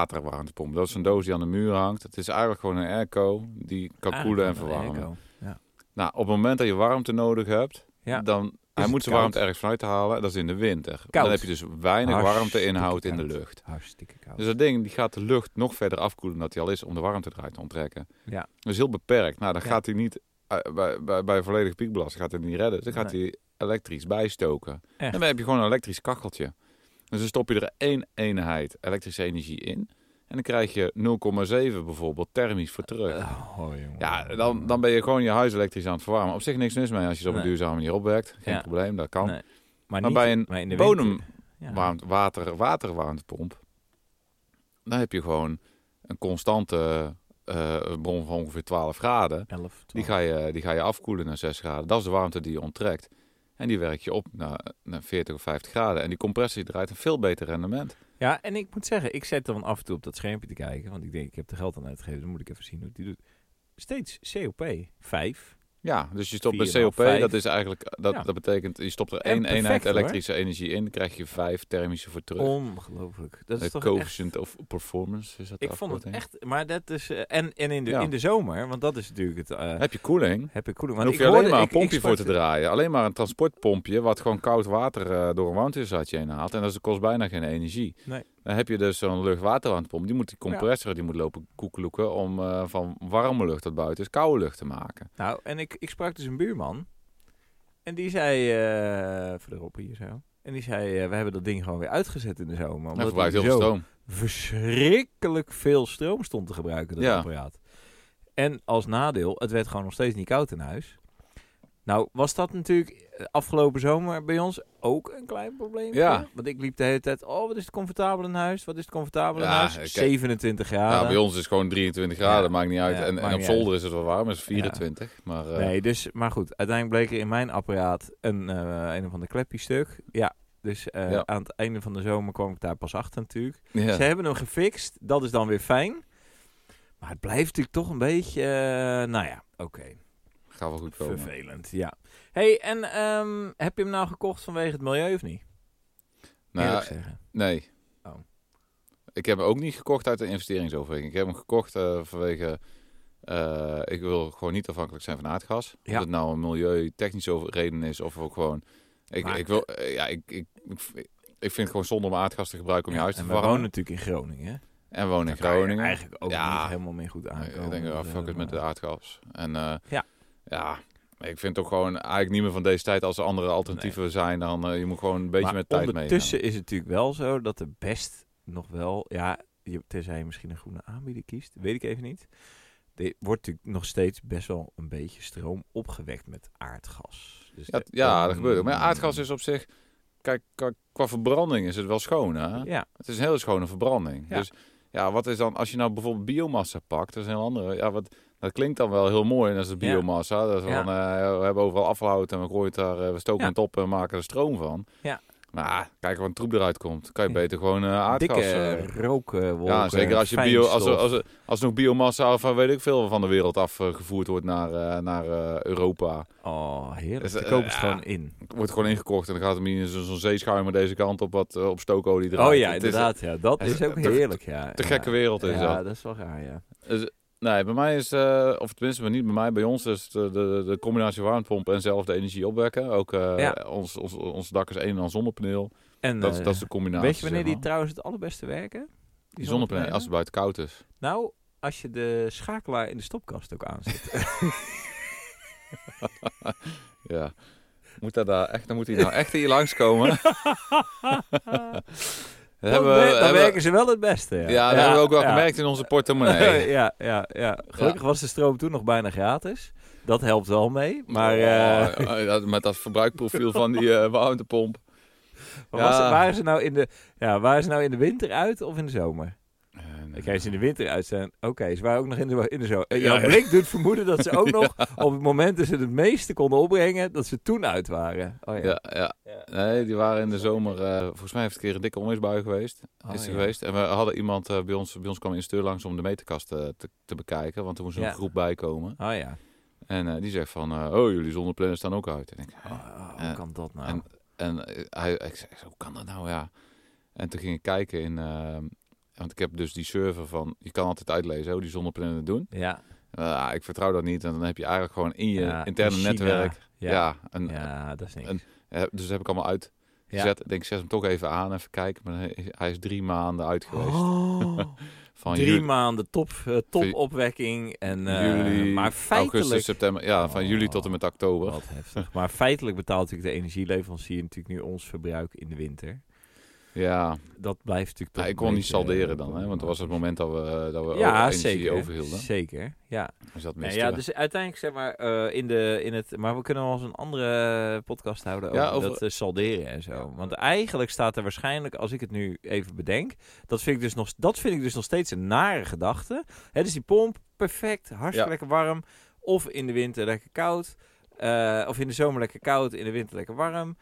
[SPEAKER 2] luchtwaterwarmtepomp. Dat is een doos die aan de muur hangt. Het is eigenlijk gewoon een airco die kan koelen en
[SPEAKER 1] Eigenlijk wel Ah, een
[SPEAKER 2] verwarmen.
[SPEAKER 1] airco.
[SPEAKER 2] Nou, op het moment dat je warmte nodig hebt,
[SPEAKER 1] Ja.
[SPEAKER 2] dan hij
[SPEAKER 1] het
[SPEAKER 2] moet zijn
[SPEAKER 1] koud?
[SPEAKER 2] warmte ergens vanuit halen. Dat is in de winter.
[SPEAKER 1] Koud.
[SPEAKER 2] Dan heb je dus weinig
[SPEAKER 1] Hartstikke
[SPEAKER 2] warmte-inhoud in de
[SPEAKER 1] koud.
[SPEAKER 2] lucht.
[SPEAKER 1] Hartstikke koud.
[SPEAKER 2] Dus dat ding die gaat de lucht nog verder afkoelen dan die al is om de warmte eruit te onttrekken.
[SPEAKER 1] Ja.
[SPEAKER 2] Dus heel beperkt. Nou, dan
[SPEAKER 1] Ja. gaat
[SPEAKER 2] gaat hij niet bij, bij, volledige piekbelasting gaat hij niet redden. Dan
[SPEAKER 1] gaat
[SPEAKER 2] gaat hij elektrisch bijstoken.
[SPEAKER 1] Echt.
[SPEAKER 2] En dan heb je gewoon een elektrisch kacheltje. Dus dan stop je er één eenheid elektrische energie in. En dan krijg je 0,7 bijvoorbeeld thermisch voor terug.
[SPEAKER 1] Eh, oh, jongen.
[SPEAKER 2] Ja, dan, dan ben je gewoon je huis elektrisch aan het verwarmen. Op zich niks mis mee als je het op een
[SPEAKER 1] Nee.
[SPEAKER 2] duurzame manier opwekt. Geen
[SPEAKER 1] Ja.
[SPEAKER 2] probleem, dat kan.
[SPEAKER 1] Nee. maar
[SPEAKER 2] maar
[SPEAKER 1] niet,
[SPEAKER 2] bij een
[SPEAKER 1] maar in de
[SPEAKER 2] bodem-
[SPEAKER 1] winter. Ja.
[SPEAKER 2] warmt water, waterwarmtepomp. Dan heb je gewoon een constante eh, bron van ongeveer 12 graden.
[SPEAKER 1] 11,
[SPEAKER 2] Die
[SPEAKER 1] 12.
[SPEAKER 2] ga, je, die ga je afkoelen naar 6 graden. Dat is de warmte die je onttrekt. En die werk je op naar, naar 40 of 50 graden. En die compressie draait een veel beter rendement.
[SPEAKER 1] Ja, en ik moet zeggen, ik zet dan af en toe op dat schermpje te kijken. Want ik denk, ik heb er geld aan uitgegeven. Dan moet ik even zien hoe het die doet. Steeds COP 5.
[SPEAKER 2] Ja, dus je stopt bij
[SPEAKER 1] Vier maal
[SPEAKER 2] COP,
[SPEAKER 1] vijf.
[SPEAKER 2] dat is eigenlijk, dat,
[SPEAKER 1] Ja.
[SPEAKER 2] dat betekent, je stopt er
[SPEAKER 1] En
[SPEAKER 2] één
[SPEAKER 1] perfect,
[SPEAKER 2] eenheid
[SPEAKER 1] hoor.
[SPEAKER 2] elektrische energie in, krijg je vijf thermische voor terug.
[SPEAKER 1] Ongelooflijk. Dat is
[SPEAKER 2] de
[SPEAKER 1] toch echt...
[SPEAKER 2] coefficient of performance is dat de
[SPEAKER 1] Ik vond het
[SPEAKER 2] afkorting.
[SPEAKER 1] echt... Maar dat is... eh, en en in, de,
[SPEAKER 2] Ja.
[SPEAKER 1] in de zomer, want dat is natuurlijk het... eh,
[SPEAKER 2] Heb je koeling,
[SPEAKER 1] heb ik koeling. Want
[SPEAKER 2] Dan hoef
[SPEAKER 1] ik
[SPEAKER 2] je alleen
[SPEAKER 1] hoorde-
[SPEAKER 2] maar een
[SPEAKER 1] ik- ik
[SPEAKER 2] pompje voor te
[SPEAKER 1] sprak- dus-
[SPEAKER 2] draaien. Alleen maar een transportpompje wat gewoon koud water eh, door een warmtewisseltje heen haalt. En dat kost bijna geen energie.
[SPEAKER 1] Nee.
[SPEAKER 2] Dan heb je dus zo'n luchtwaterwarmtepomp. Die moet die compressor, die moet lopen koekeloeken om eh, van warme lucht dat buiten is koude lucht te maken.
[SPEAKER 1] Nou, en ik, ik sprak dus een buurman. En die zei... eh verderop hier zo. En die zei, eh, we hebben dat ding gewoon weer uitgezet in de zomer.
[SPEAKER 2] Dat
[SPEAKER 1] Omdat
[SPEAKER 2] verbruikt
[SPEAKER 1] hij
[SPEAKER 2] heel veel
[SPEAKER 1] zo
[SPEAKER 2] stroom.
[SPEAKER 1] verschrikkelijk veel stroom stond te gebruiken, dat
[SPEAKER 2] Ja.
[SPEAKER 1] apparaat. En als nadeel, het werd gewoon nog steeds niet koud in huis. Nou, was dat natuurlijk eh, afgelopen zomer bij ons ook een klein probleem.
[SPEAKER 2] Ja.
[SPEAKER 1] Want ik liep de hele tijd, oh, wat is het comfortabel in huis? Wat is het comfortabel in
[SPEAKER 2] Ja,
[SPEAKER 1] huis?
[SPEAKER 2] kijk.
[SPEAKER 1] 27 graden.
[SPEAKER 2] Nou, bij ons is het gewoon 23 graden,
[SPEAKER 1] Ja.
[SPEAKER 2] maakt niet uit.
[SPEAKER 1] Ja,
[SPEAKER 2] en
[SPEAKER 1] maakt
[SPEAKER 2] en op
[SPEAKER 1] niet
[SPEAKER 2] zolder is het wel warm, is 24. Maar eh,
[SPEAKER 1] Nee, dus, maar goed, uiteindelijk bleek er in mijn apparaat een, eh een of ander klepje stuk. Ja, dus eh,
[SPEAKER 2] Ja.
[SPEAKER 1] aan het einde van de zomer kwam ik daar pas achter natuurlijk.
[SPEAKER 2] ja.
[SPEAKER 1] Ze hebben hem gefixt. Dat is dan weer fijn. Maar het blijft natuurlijk toch een beetje... eh, nou ja, oké.
[SPEAKER 2] gaat wel goed komen.
[SPEAKER 1] Vervelend, ja. hey, en ehm, heb je hem nou gekocht vanwege het milieu of niet?
[SPEAKER 2] Nou,
[SPEAKER 1] Eerlijk zeggen.
[SPEAKER 2] Nee.
[SPEAKER 1] Oh.
[SPEAKER 2] Ik heb hem ook niet gekocht uit de investeringsoverweging. Ik heb hem gekocht eh, vanwege... eh, ik wil gewoon niet afhankelijk zijn van aardgas.
[SPEAKER 1] Ja.
[SPEAKER 2] Of het nou een milieutechnische over- reden is of ook gewoon... Ik,
[SPEAKER 1] Maar-
[SPEAKER 2] ik, wil, eh, ja, ik, ik, ik, ik vind het gewoon zonde om aardgas te gebruiken om je huis te
[SPEAKER 1] en we wonen
[SPEAKER 2] verwarmen.
[SPEAKER 1] natuurlijk in Groningen. hè?
[SPEAKER 2] En wonen in
[SPEAKER 1] Daar kan je
[SPEAKER 2] Groningen.
[SPEAKER 1] Eigenlijk ook
[SPEAKER 2] Ja.
[SPEAKER 1] niet helemaal meer goed aankomen.
[SPEAKER 2] Ik denk, oh,
[SPEAKER 1] Dus,
[SPEAKER 2] fuck
[SPEAKER 1] eh,
[SPEAKER 2] it met de aardgas. En eh,
[SPEAKER 1] Ja.
[SPEAKER 2] ja, ik vind het ook gewoon eigenlijk niet meer van deze tijd. Als er andere alternatieven zijn, dan eh, je moet gewoon een beetje
[SPEAKER 1] maar
[SPEAKER 2] met tijd mee. nou.
[SPEAKER 1] ondertussen is het natuurlijk wel zo dat er best nog wel... Ja, je- tenzij je misschien een groene aanbieder kiest. Weet ik even niet. Er wordt natuurlijk nog steeds best wel een beetje stroom opgewekt met aardgas. Dus
[SPEAKER 2] Ja,
[SPEAKER 1] de-
[SPEAKER 2] t- ja, dat gebeurt ook. Maar ja, aardgas is op zich... Kijk, qua, qua verbranding is het wel schoon, hè?
[SPEAKER 1] Ja,
[SPEAKER 2] Het is een hele schone verbranding.
[SPEAKER 1] Ja.
[SPEAKER 2] Dus ja, wat is dan... Als je nou bijvoorbeeld biomassa pakt, dat is een heel andere... Ja, wat, dat klinkt dan wel heel mooi, en dat is de
[SPEAKER 1] Ja.
[SPEAKER 2] biomassa. Dat is
[SPEAKER 1] Ja.
[SPEAKER 2] van, eh, we hebben overal afhout en we gooien het daar... eh, we stoken
[SPEAKER 1] Ja.
[SPEAKER 2] het op en maken er stroom van.
[SPEAKER 1] Ja.
[SPEAKER 2] Maar ah, kijk wat een troep eruit komt. Kan je
[SPEAKER 1] Ja.
[SPEAKER 2] beter gewoon eh, aardgas...
[SPEAKER 1] dikke
[SPEAKER 2] eh,
[SPEAKER 1] rookwolken.
[SPEAKER 2] ja, zeker als je
[SPEAKER 1] fijn
[SPEAKER 2] bio, als, er-
[SPEAKER 1] stof.
[SPEAKER 2] als, er- als er nog biomassa van weet ik veel van de wereld afgevoerd wordt naar, eh, naar eh, Europa.
[SPEAKER 1] Oh, heerlijk.
[SPEAKER 2] Dus,
[SPEAKER 1] Ze
[SPEAKER 2] eh,
[SPEAKER 1] kopen het
[SPEAKER 2] ja.
[SPEAKER 1] gewoon in.
[SPEAKER 2] wordt gewoon ingekocht en dan gaat hem in zo'n zo'n zeeschuimer deze kant op wat eh, op stookolie draait.
[SPEAKER 1] Oh ja,
[SPEAKER 2] Het
[SPEAKER 1] inderdaad. Ja, dat
[SPEAKER 2] het is
[SPEAKER 1] is ook
[SPEAKER 2] te-
[SPEAKER 1] heerlijk, ja.
[SPEAKER 2] Is, de gekke wereld is
[SPEAKER 1] Ja,
[SPEAKER 2] dat.
[SPEAKER 1] dat is wel raar, ja.
[SPEAKER 2] Dus, nee, bij mij is, eh, of tenminste maar niet bij mij, bij ons is de, de, de combinatie warmtepomp en zelf de energie opwekken. Ook eh,
[SPEAKER 1] Ja.
[SPEAKER 2] ons, ons, ons dak is een en al zonnepaneel.
[SPEAKER 1] En
[SPEAKER 2] Dat, is-
[SPEAKER 1] eh,
[SPEAKER 2] dat is de combinatie.
[SPEAKER 1] weet je wanneer
[SPEAKER 2] zeg
[SPEAKER 1] die
[SPEAKER 2] maar.
[SPEAKER 1] trouwens het allerbeste werken?
[SPEAKER 2] die zonnepanelen, als het buiten koud is.
[SPEAKER 1] Nou, als je de schakelaar in de stopkast ook aanzet.
[SPEAKER 2] Ja. Moet dat daar echt, dan moet hij nou echt hier langskomen. Dat
[SPEAKER 1] dan
[SPEAKER 2] hebben we-
[SPEAKER 1] wer- dan
[SPEAKER 2] hebben-
[SPEAKER 1] werken ze wel het beste. Ja,
[SPEAKER 2] ja, dat hebben we ook wel gemerkt in onze portemonnee.
[SPEAKER 1] ja, ja, ja. Gelukkig was de stroom toen nog bijna gratis. Dat helpt wel mee. Maar eh,
[SPEAKER 2] Oh, eh, dat- met dat verbruikprofiel van die eh, warmtepomp.
[SPEAKER 1] waar was-
[SPEAKER 2] ja.
[SPEAKER 1] waren, ze nou in de, ja, waren ze nou in de winter uit of in de zomer?
[SPEAKER 2] En,
[SPEAKER 1] Kijk, ze in de winter uit zijn. Oké, ze waren ook nog in de, in de zomer.
[SPEAKER 2] Ja,
[SPEAKER 1] Jouw
[SPEAKER 2] ja.
[SPEAKER 1] blik doet vermoeden dat ze ook nog op het moment dat ze het meeste konden opbrengen, dat ze toen uit waren. Oh, ja.
[SPEAKER 2] ja, ja.
[SPEAKER 1] Ja.
[SPEAKER 2] Nee, die waren in de zomer, eh, volgens mij heeft het een keer een dikke onweersbui geweest.
[SPEAKER 1] Oh,
[SPEAKER 2] is er
[SPEAKER 1] ja.
[SPEAKER 2] geweest. En we hadden iemand eh, bij ons, bij ons kwam een insteur langs om de meterkast eh, te, te bekijken. Want er moest een
[SPEAKER 1] Ja.
[SPEAKER 2] groep bij komen.
[SPEAKER 1] Oh ja.
[SPEAKER 2] En eh, die zegt van, eh, oh jullie zonneplannen staan ook uit. En ik,
[SPEAKER 1] Oh, hoe
[SPEAKER 2] Eh,
[SPEAKER 1] kan dat nou?
[SPEAKER 2] en- En eh, hij, ik zei, hoe kan dat nou, ja? En toen ging ik kijken in... eh, want ik heb dus die server van... Je kan altijd uitlezen hoe die zonneplannen het doen.
[SPEAKER 1] ja.
[SPEAKER 2] Ah, ik vertrouw dat niet. En dan heb je eigenlijk gewoon in je
[SPEAKER 1] Ja,
[SPEAKER 2] interne
[SPEAKER 1] in China.
[SPEAKER 2] netwerk... Ja,
[SPEAKER 1] Ja.
[SPEAKER 2] en,
[SPEAKER 1] Ja, dat is niks.
[SPEAKER 2] en- eh, dus dat heb ik allemaal uitgezet.
[SPEAKER 1] Ja.
[SPEAKER 2] Ik denk, zet hem toch even aan, even kijken. Maar hij, hij is drie maanden uit geweest.
[SPEAKER 1] Oh,
[SPEAKER 2] van
[SPEAKER 1] drie
[SPEAKER 2] juli,
[SPEAKER 1] maanden top, eh, topopwekking. En, eh,
[SPEAKER 2] juli,
[SPEAKER 1] maar feitelijk...
[SPEAKER 2] augustus, september. Ja, van juli
[SPEAKER 1] Oh.
[SPEAKER 2] tot en met oktober.
[SPEAKER 1] Wat heftig. Maar feitelijk betaalt natuurlijk de energieleverancier natuurlijk nu ons verbruik in de winter.
[SPEAKER 2] Ja,
[SPEAKER 1] Dat blijft natuurlijk toch
[SPEAKER 2] Ja, ik
[SPEAKER 1] een
[SPEAKER 2] kon niet
[SPEAKER 1] beetje, eh,
[SPEAKER 2] salderen dan. Hè, want dat was het moment dat we, eh, dat we
[SPEAKER 1] ja,
[SPEAKER 2] energie
[SPEAKER 1] zeker.
[SPEAKER 2] overhielden.
[SPEAKER 1] Zeker, ja.
[SPEAKER 2] Dus dat
[SPEAKER 1] Nou
[SPEAKER 2] miste
[SPEAKER 1] ja,
[SPEAKER 2] we.
[SPEAKER 1] dus uiteindelijk zeg maar eh, in, de, in het... Maar we kunnen wel eens een andere eh, podcast houden over,
[SPEAKER 2] Ja, over-
[SPEAKER 1] dat eh, salderen en zo. Want eigenlijk staat er waarschijnlijk, als ik het nu even bedenk... Dat vind ik dus nog, dat vind ik dus nog steeds een nare gedachte. Hè, dus die pomp, perfect, hartstikke
[SPEAKER 2] Ja.
[SPEAKER 1] lekker warm. Of in de winter lekker koud. Eh, of in de zomer lekker koud, in de winter lekker warm.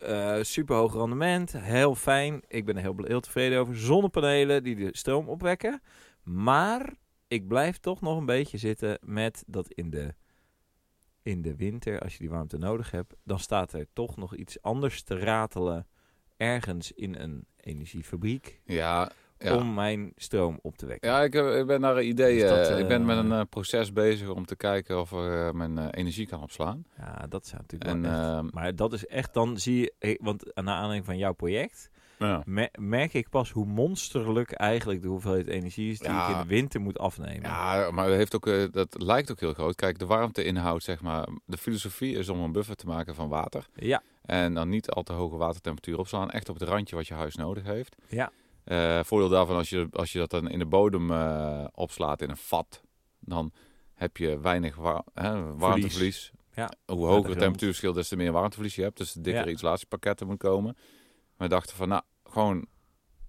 [SPEAKER 1] Eh super hoog rendement, heel fijn. Ik ben er heel, heel tevreden over. Zonnepanelen die de stroom opwekken. Maar ik blijf toch nog een beetje zitten met dat in de, in de winter, als je die warmte nodig hebt, dan staat er toch nog iets anders te ratelen ergens in een energiefabriek
[SPEAKER 2] Ja, ja.
[SPEAKER 1] om mijn stroom op te wekken.
[SPEAKER 2] ja ik, eh, ik ben naar een idee.
[SPEAKER 1] Dus dat,
[SPEAKER 2] eh, ik ben
[SPEAKER 1] eh,
[SPEAKER 2] met een eh, proces bezig om te kijken of ik eh, mijn eh, energie kan opslaan.
[SPEAKER 1] Ja, dat zou natuurlijk
[SPEAKER 2] En,
[SPEAKER 1] wel echt...
[SPEAKER 2] eh,
[SPEAKER 1] Maar dat is echt, dan zie je, eh, want naar aanleiding van jouw project,
[SPEAKER 2] ja.
[SPEAKER 1] me- merk ik pas hoe monsterlijk eigenlijk de hoeveelheid energie is die
[SPEAKER 2] Ja.
[SPEAKER 1] ik in de winter moet afnemen.
[SPEAKER 2] ja, maar het heeft ook, eh, dat lijkt ook heel groot. Kijk, de warmteinhoud, zeg maar. De filosofie is om een buffer te maken van water.
[SPEAKER 1] ja.
[SPEAKER 2] En dan niet al te hoge watertemperatuur opslaan. Echt op het randje wat je huis nodig heeft.
[SPEAKER 1] Ja.
[SPEAKER 2] Eh, voordeel daarvan, als je, als je dat dan in de bodem eh, opslaat in een vat, dan heb je weinig wa- hè, warmteverlies.
[SPEAKER 1] Ja.
[SPEAKER 2] Hoe
[SPEAKER 1] Ja, dat
[SPEAKER 2] hoger
[SPEAKER 1] is
[SPEAKER 2] het temperatuurverschil, des te meer warmteverlies je hebt. Dus de dikkere
[SPEAKER 1] Ja.
[SPEAKER 2] isolatiepakketten moeten komen. We dachten van, nou, gewoon